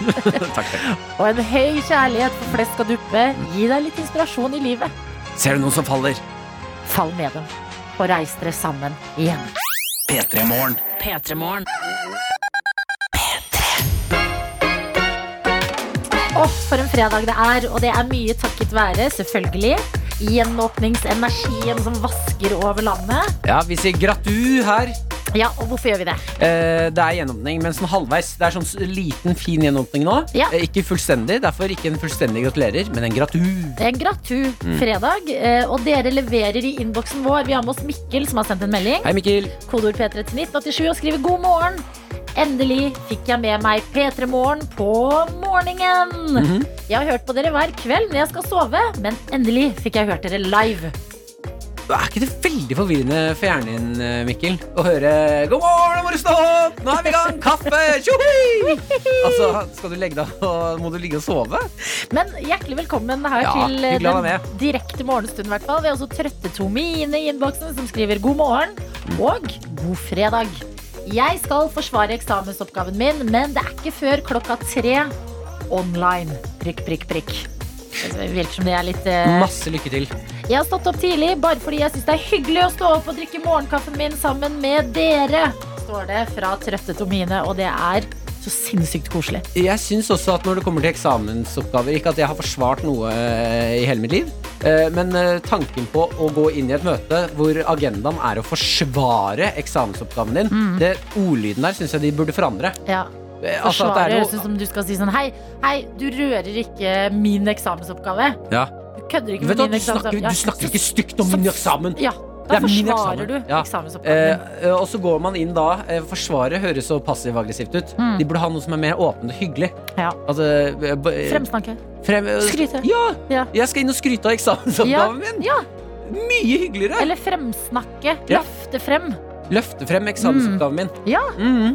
Takk, takk.
og en høy kjærlighet for flest skal duppe,
Mm.
gi deg litt inspirasjon i livet.
Ser du noen som faller?
Fall med dem, og reis dere sammen igjen.
P3 Morgen.
P3morgen.
Åh, for en fredag det er, og det er mye takket være, selvfølgelig. Gjenåpningsenergien som vasker over landet.
Ja, vi sier gratu her.
Ja, og hvorfor gjør vi det?
Eh, det er gjenåpning, men sånn halvveis. Det er sånn s- liten, fin gjenåpning nå.
Ja.
Eh, ikke fullstendig, derfor ikke en fullstendig gratulerer, men en gratu.
En gratu
Mm.
fredag, eh, og dere leverer i innboksen vår. Vi har med oss Mikkel, som har sendt en melding.
Hei, Mikkel.
Kodord P3 til 1987 og skriver god morgen. Endelig fikk jeg med meg P3 Morgen på morgenen.
Mhm.
Jeg har hørt på dere hver kveld når jeg skal sove, men endelig fikk jeg hørt dere live.
Er ikke det veldig forvirrende for hjernen din, eh, Mikkel, å høre 'God morgen, må du stå opp! Nå er vi i gang! Kaffe! Tjohi!» Altså, skal du legge deg og Må du ligge og sove?
Men hjertelig velkommen her
Ja,
til eh,
hyggelig å
den
være
direkte morgenstunden, i hvert fall. Vi har også trøtte Tomine i innboksen, som skriver god morgen og god fredag. Jeg skal forsvare eksamensoppgaven min, men det er ikke før klokka tre online. Prikk, prikk, prikk. Det virker som det er litt eh,
Masse lykke til.
Jeg har stått opp tidlig bare fordi jeg syns det er hyggelig å stå opp og drikke morgenkaffen min sammen med dere, står det fra trøtte Tomine, og det er så sinnssykt koselig.
Jeg syns også at når det kommer til eksamensoppgaver Ikke at jeg har forsvart noe eh, i hele mitt liv, eh, men eh, tanken på å gå inn i et møte hvor agendaen
Mm.
er å forsvare eksamensoppgaven din, det ordlyden der syns jeg de burde forandre.
Ja.
Eh, altså, at
Forsvarer
det er
høres
noe
ut som du skal si sånn Hei, hei, du rører ikke min eksamensoppgave.
ja.
Du kødder ikke med
Vet du, hva,
min
du, snakker,
eksamensoppgave.
du snakker ikke stygt om min eksamen!
Ja,
Det
da
er min
forsvarer
eksamen.
du
Ja.
eksamensoppgaven.
Eh, og så går man inn da eh, Forsvaret høres så passiv-aggressivt ut.
Mm.
De burde ha noe som er mer åpent og hyggelig.
Ja.
Altså, eh, b- eh,
Fremsnakke.
frem- eh,
Skryte.
Ja!
Ja.
Jeg skal inn og skryte av
Ja,
eksamensoppgaven min!
ja.
Mye hyggeligere!
Eller fremsnakke.
Ja.
Løfte frem.
Løfte frem eksamensoppgaven min.
Mm.
Mm.
Ja.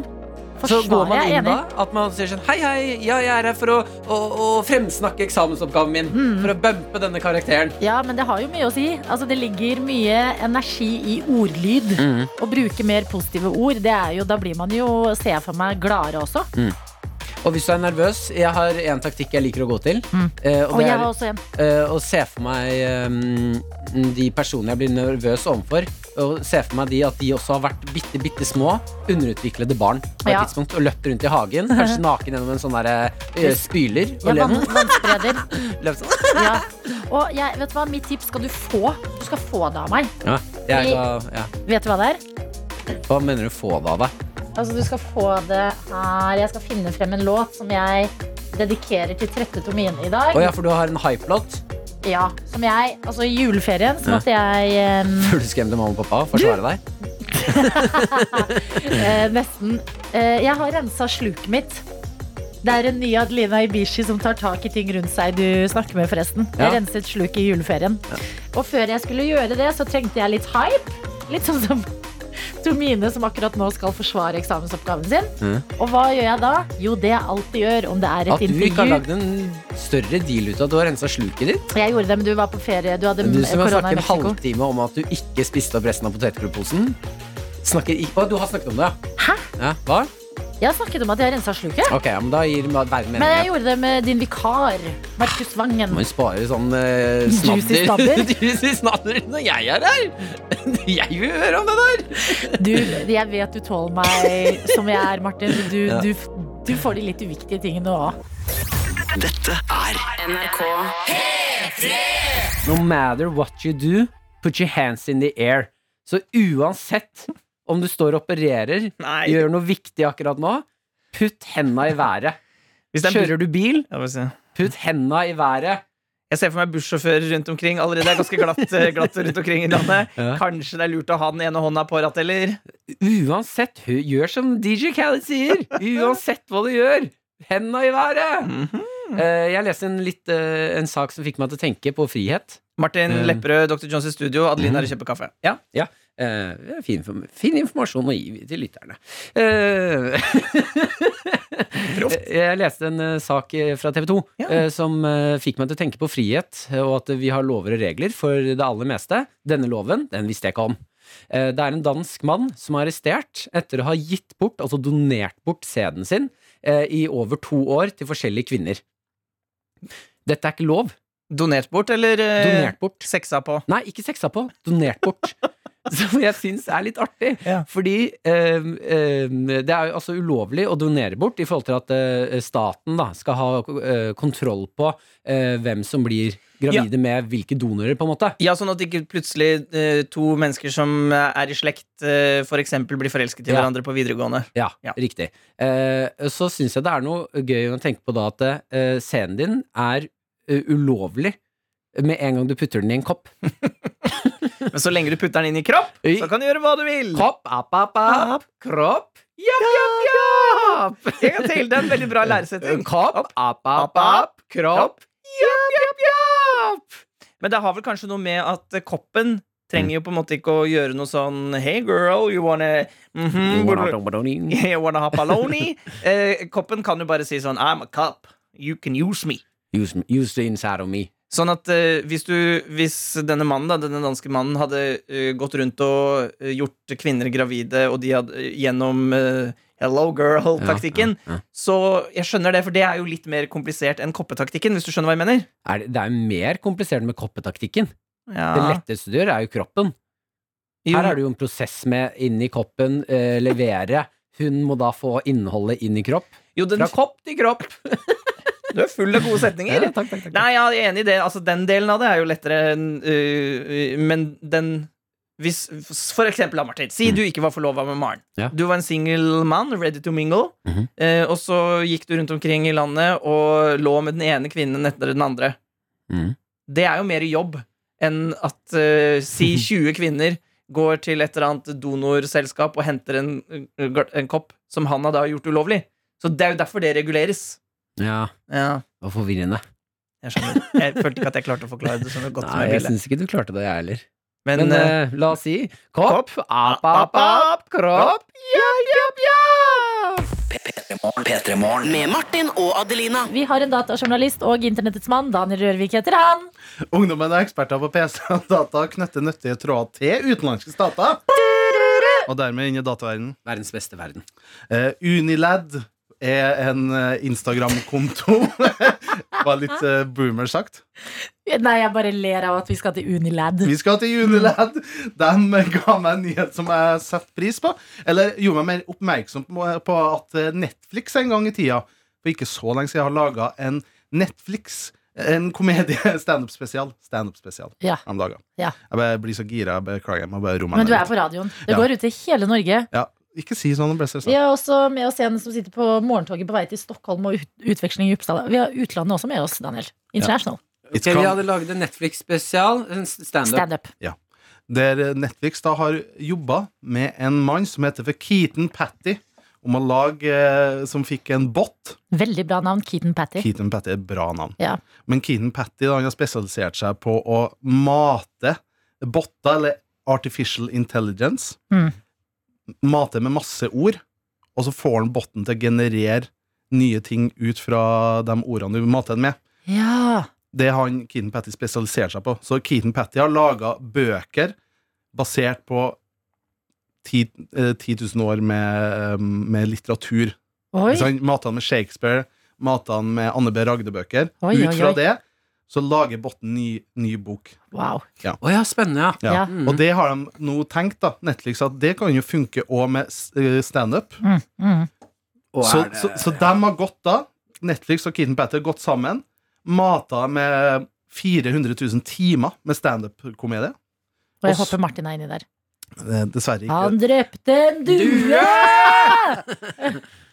Så går
Forsvarer,
man
jeg er
inn da
enig.
at man sier sånn Hei, hei, ja, jeg er her for å, å, å fremsnakke eksamensoppgaven min.
Mm.
For å bumpe denne karakteren.
Ja, men det har jo mye å si. Altså, det ligger mye energi i ordlyd.
Mhm.
Å bruke mer positive ord, det er jo, da blir man jo, ser jeg for meg, gladere også.
Og hvis du er nervøs Jeg har en taktikk jeg liker å gå til. eh,
Mm. Og
det
jeg
er-
har også en.
Eh, og se for meg eh, de personene jeg blir nervøs overfor, og se for meg de at de også har vært bitte, bitte små, underutviklede barn på et
Ja.
tidspunkt, og løpt rundt i hagen, kanskje naken gjennom en sånn der, eh, spyler.
Jeg
Og
er vann,
løpt-
vannspreder.
løpt sånn.
Ja. Og jeg, vet du hva, mitt tips skal du få. Du skal få det av meg.
Ja, jeg ga, ja.
Vet du hva det er?
Hva mener du få det av deg?
Altså, du skal få det her Jeg skal finne frem en låt som jeg dedikerer til Trette Tomine i dag.
Å ja, for du har en hypelåt.
Ja, som jeg, altså I juleferien så
Ja.
måtte jeg
Før du skremte mamma og pappa og forsvare deg.
eh, eh, nesten eh, Jeg har rensa sluket mitt. Det er en ny Adelina Ibishi som tar tak i ting rundt seg. Du snakker med forresten
Ja.
Jeg renset sluket i juleferien. Og før jeg skulle gjøre det, så trengte jeg litt hype. Litt sånn som Tomine, som akkurat nå skal forsvare eksamensoppgaven sin. Og hva gjør jeg da? Jo, det jeg alltid gjør om det er
At
et
du ikke har
intervju.
lagd en større deal ut av at du har rensa sluket ditt.
Jeg gjorde det, men du var på ferie. Du hadde
Du som har
korona i
snakket en
Mexico.
halvtime om at du ikke spiste opp resten av potetgullposen. Snakker ikke Å, du har snakket om det, ja.
Hæ?
ja hva?
Jeg snakket om at jeg rensa sluket.
Ok, ja, men da gir ma- verden
Men jeg
mening.
gjorde det med din vikar, Markus Vangen.
Man sparer sånn eh,
Juicy snabber.
snadder. Juicy snadder når jeg er her! Jeg vil høre om det der!
Du, jeg vet du tåler meg som jeg er, Martin. men Du,
Ja.
du, du får de litt uviktige tingene òg.
Dette er NRK P3.
No matter what you do, put your hands in the air. Så uansett om du står og opererer, gjør noe viktig akkurat nå, putt henda i været.
Hvis det er bu-
Kjører du bil,
Ja, bare se.
putt henda i været.
Jeg ser for meg bussjåfører rundt omkring. Allerede er det ganske glatt, eh, glatt rundt omkring i landet.
Ja.
Kanskje det er lurt å ha den ene hånda på rattet, eller?
Uansett, hø- gjør som DJ Khaled sier. Uansett hva du gjør, henda i været.
Mhm.
Eh, jeg leste en, litt, eh, en sak som fikk meg til å tenke på frihet.
Martin
Eh,
Lepperød, Dr. Jones i studio. Adeline er og kjøper kaffe.
Ja, ja. Eh, det er fin, inform- fin informasjon å gi til lytterne. Eh, jeg leste en eh, sak eh, fra TV 2 eh, som eh, fikk meg til å tenke på frihet, eh, og at vi har lover og regler for det aller meste. Denne loven den visste jeg ikke om. Eh, det er en dansk mann som er arrestert etter å ha gitt bort, altså donert bort, sæden sin eh, i over to år til forskjellige kvinner. Dette er ikke lov.
Donert bort, eller eh,
Donert bort.
seksa på?
Nei, ikke seksa på. Donert bort. Som jeg syns er litt artig. Fordi øhm, øhm, det er jo altså ulovlig å donere bort i forhold til at øh, staten da skal ha øh, kontroll på øh, hvem som blir gravide med hvilke donorer, på en måte.
Ja, sånn at ikke plutselig eh, to mennesker som er i slekt, eh, for eksempel blir forelsket i
Ja.
hverandre på videregående.
Ja, riktig. Eh, så syns jeg det er noe gøy å tenke på da at eh, scenen din er eh, ulovlig med en gang du putter den i en kopp.
Men så lenge du putter den inn i kropp, så kan du gjøre hva du vil.
Kopp, app, app, app. Kropp.
Japp, japp, japp! En gang til. Det er en veldig bra læresetting.
Kopp, app, app, app. Kropp.
Japp, japp, japp! Men det har vel kanskje noe med at eh, koppen trenger jo på en måte ikke å gjøre noe sånn Hey girl, you wanna mhm,
Mm,
You wanna ha paloni? Eh, koppen kan jo bare si sånn I'm a cup. You can use me.
Use, use the inside of me.
Sånn at eh, hvis, du, hvis denne mannen, da, denne danske mannen, hadde eh, gått rundt og eh, gjort kvinner gravide, og de hadde gjennom eh, hello girl-taktikken, så jeg skjønner det, for det er jo litt mer komplisert enn koppetaktikken, hvis du skjønner hva jeg mener.
Er det, det er jo mer komplisert med koppetaktikken.
Ja.
Det letteste du gjør, er jo kroppen.
Jo.
Her er det jo en prosess med inn i koppen, eh, levere. Hun må da få innholdet inn i kropp. Fra kopp til kropp.
Du er full av gode setninger.
Ja, takk, takk, takk.
Nei, jeg er enig i det. Altså, den delen av det er jo lettere enn øh, øh, Men den
hvis, For eksempel, da, Martin. Si du ikke var forlova med Maren.
Ja.
Du var en singel mann, ready to mingle.
Mhm.
eh, og så gikk du rundt omkring i landet og lå med den ene kvinnen etter den andre.
Mhm.
Det er jo mer jobb enn at eh, si 20 kvinner går til et eller annet donorselskap og henter en, øh, en kopp som han har da gjort ulovlig. Så det er jo derfor det reguleres.
Ja.
Ja.
Det var forvirrende.
Jeg skjønner. Jeg følte ikke at jeg klarte å forklare det så godt som
Nei,
jeg
jeg
ville.
syns ikke du klarte det, jeg heller.
Men,
Men, eh, la oss si kopp, app, app, app, kropp.
Med Martin og Adelina.
Vi har en datajournalist og internettets mann, Daniel Rørvik heter han.
Ungdommen er eksperter på PC og data og knytter nyttige tråder til utenlandske stater. Og dermed inn i dataverdenen.
Verdens beste verden.
Eh, Unilad er en eh, Instagram-konto. Var litt eh, boomer sagt.
Nei, jeg bare ler av at vi skal til Unilad.
Vi skal til Unilad. De ga meg en nyhet som jeg setter pris på. Eller gjorde meg mer oppmerksom på på at eh, Netflix en gang i tida, for ikke så lenge siden, har laga en Netflix en komedie, standup-spesial. Standup-spesial.
Ja.
De laget.
Ja.
Jeg bare blir så gira. jeg Beklager. Jeg må bare romme
Men du er
meg litt.
på radioen. Det
Ja.
går ut til hele Norge.
Ja, ikke si sånn. Det ble
Vi
stressa.
har også med oss en som sitter på morgentoget på vei til Stockholm og ut utveksling i Uppsala. Vi har utlandet også med oss, Daniel. International.
Ok, vi hadde laget en Netflix-spesial. en Standup.
Standup.
Ja. Der Netflix da har jobba med en mann som heter for Keaton Patty, om å lage eh, Som fikk en bot.
Veldig bra navn. Keaton Patty.
Keaton Patty er et bra navn.
Ja.
Men Keaton Patty da, han har spesialisert seg på å mate botter, eller artificial intelligence.
Mm.
Mate med masse ord, og så får han botten til å generere nye ting ut fra de ordene du mater den med.
Ja.
Det har han Keaton Patty spesialisert seg på. Så Keaton Patty har laga bøker basert på 10 eh, 10 000 år med, eh, med litteratur.
Oi.
Så han mater han med Shakespeare, mater han med Anne B. Ragde-bøker.
Oi, oi,
Ut fra
oi.
det så lager Botten ny, ny bok.
Wow.
Ja.
spennende, ja. Mm.
Ja.
Ja.
Og det har de nå tenkt, da, Netflix, at det kan jo funke òg med s- eh, standup.
Mm, mm.
Og
Så,
er det-
så, så de har gått da Netflix og Keaton Patter gått sammen Mata med 400 000 timer Med stand-up-komedie
Og jeg
Og s-
håper Martin er inni der.
Eh, Dessverre ikke
Han drepte en due!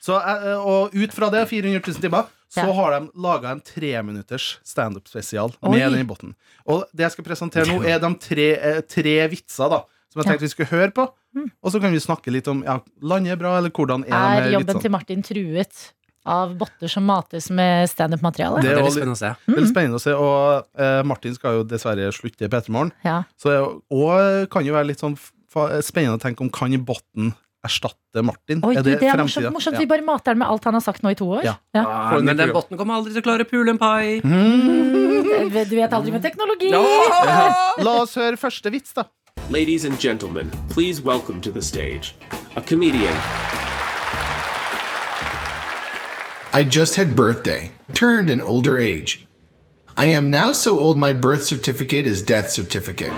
så, eh, Og ut fra det, 400 000 timer Så
Ja.
har de laget en tre-minutters stand-up-spesial
Oi.
Med den i botten Og det jeg skal presentere nå er de tre, eh, tre vitser da Som
Ja.
jeg
Mm.
tenkte vi skulle høre på Og så kan vi snakke litt om ja, Landet er bra, eller hvordan er, de
Er
her
jobben
vitsene?
til Martin truet av botter som mates med standup-materiale?
Det er jo litt- Veldig spennende å se. Og eh, Martin skal jo dessverre slutte i P3 Morgen.
Ja.
Så det er jo- og kan jo være litt sånn fa- spennende å tenke om kan Botten erstatte Martin?
Oi, du, det er morsomt.
fremtiden?
morsomt.
Ja.
Vi bare mater den med alt han har sagt nå i to år.
Ja. Mm.
Ah, men den botten kommer aldri til å klare å pule en pai.
Du vet aldri med teknologi!
eh, La oss høre første vits, da.
Ladies and gentlemen, please welcome to the stage a comedian.
I just had birthday, turned an older age. I am now so old my birth certificate is death certificate.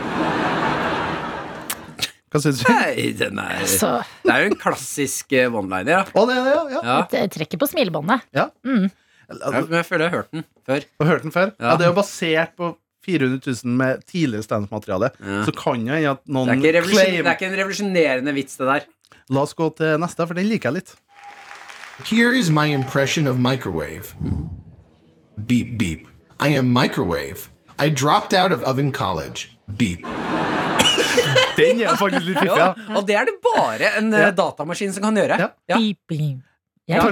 Hva syns du?
Nei, den er,
Altså.
det er jo en klassisk eh, one-liner, ja.
Å, det er det, ja.
Ja.
Det trekker på smilebåndet.
Ja.
Mm.
Ja, men jeg føler jeg har hørt den før.
Du har hørt den før? Ja. det er jo basert på 400 000 med tidligere standup-materiale. Så kan jo hende at noen
Det er, ikke revolusjon-
claim-
det er ikke en revolusjonerende vits, det der.
La oss gå til neste, for den liker jeg litt.
Here is my impression of microwave. Beep, beep. I am microwave. I dropped out of oven college. Beep.
Den er faktisk litt fiffig, ja.
og det er det bare en eh, datamaskin som kan gjøre. Ja. Jeg liker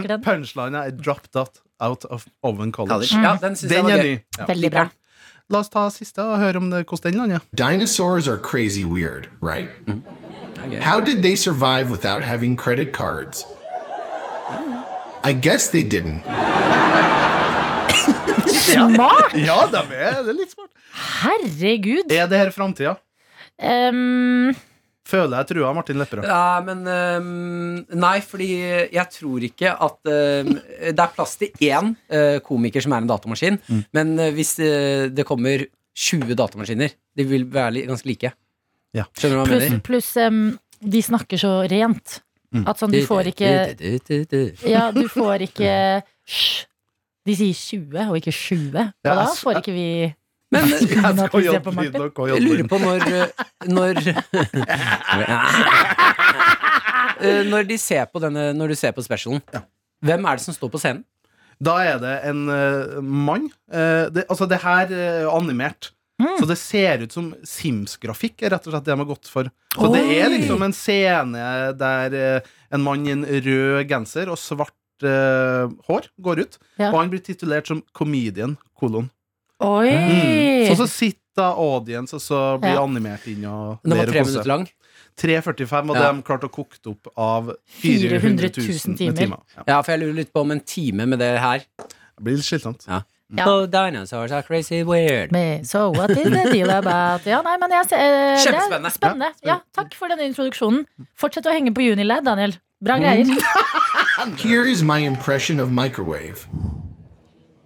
Pun- Punchline er 'dropped out, out of oven college'.
College. Ja, den synes jeg var
er
gøy.
ny. Ja.
Veldig bra.
La oss ta siste og høre om det, hvordan den lander.
Dinosaurs are crazy weird, right? How did they survive without having credit cards? I guess they didn't.
Smart!
Ja, de er, det er litt smart.
Herregud.
Er det her framtida?
Um,
Føler jeg trua Martin Lepperød.
Ja, men ehm, Nei, fordi jeg tror ikke at ehm, Det er plass til én eh, komiker som er en datamaskin, men eh, hvis eh, det kommer 20 datamaskiner, de vil være li- ganske like. Skjønner du hva jeg
pluss
mener?
pluss um, de snakker så rent.
Mm.
At sånn, du får ikke Ja, du får ikke Hysj. De sier 20 og ikke 20. Og
Ja,
da
jeg s-
får ikke vi
Men
Jeg skal
Jeg
jobbe Jeg skal videre
og
lurer på når eh, Når Eh, Når, de ser på denne, når du ser på specialen, hvem er det som står på scenen?
Da er det en eh, mann. Eh, det, altså, det her eh, er animert. Så det ser ut som Sims-grafikk, er rett og slett det de har gått for. Så det er
Oi!
liksom en scene der eh, en mann i en rød genser og svart eh, hår går ut,
Ja.
og han blir titulert som comedian, kolon.
Oi!
Mm. Så så sitter da audience, og så blir
Ja.
animert inn og
Den var
ned og
tre
kose.
minutter lang.
3.45, og
Ja.
de klarte å koke det opp av 400 000 med timer.
Ja. for jeg lurer litt på om en time med det her Det
blir litt slitsomt.
Ja.
Ja.
Oh, dinosaurs are crazy weird.
Men, so what is the deal about Ja, nei, men jeg ser eh, det er
Kjempespennende.
Spennende. Ja, takk for denne introduksjonen. Fortsett å henge på Unilad, Daniel.
Mm.
Bra greier.
Here is my impression of microwave.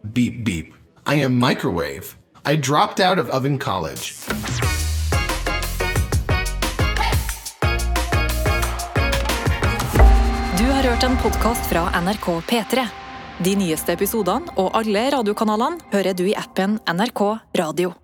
Beep beep. I am microwave. I dropped out of oven college.
Du har hørt en podkast fra NRK P3. De nyeste episodene og alle radiokanalene hører du i appen NRK Radio.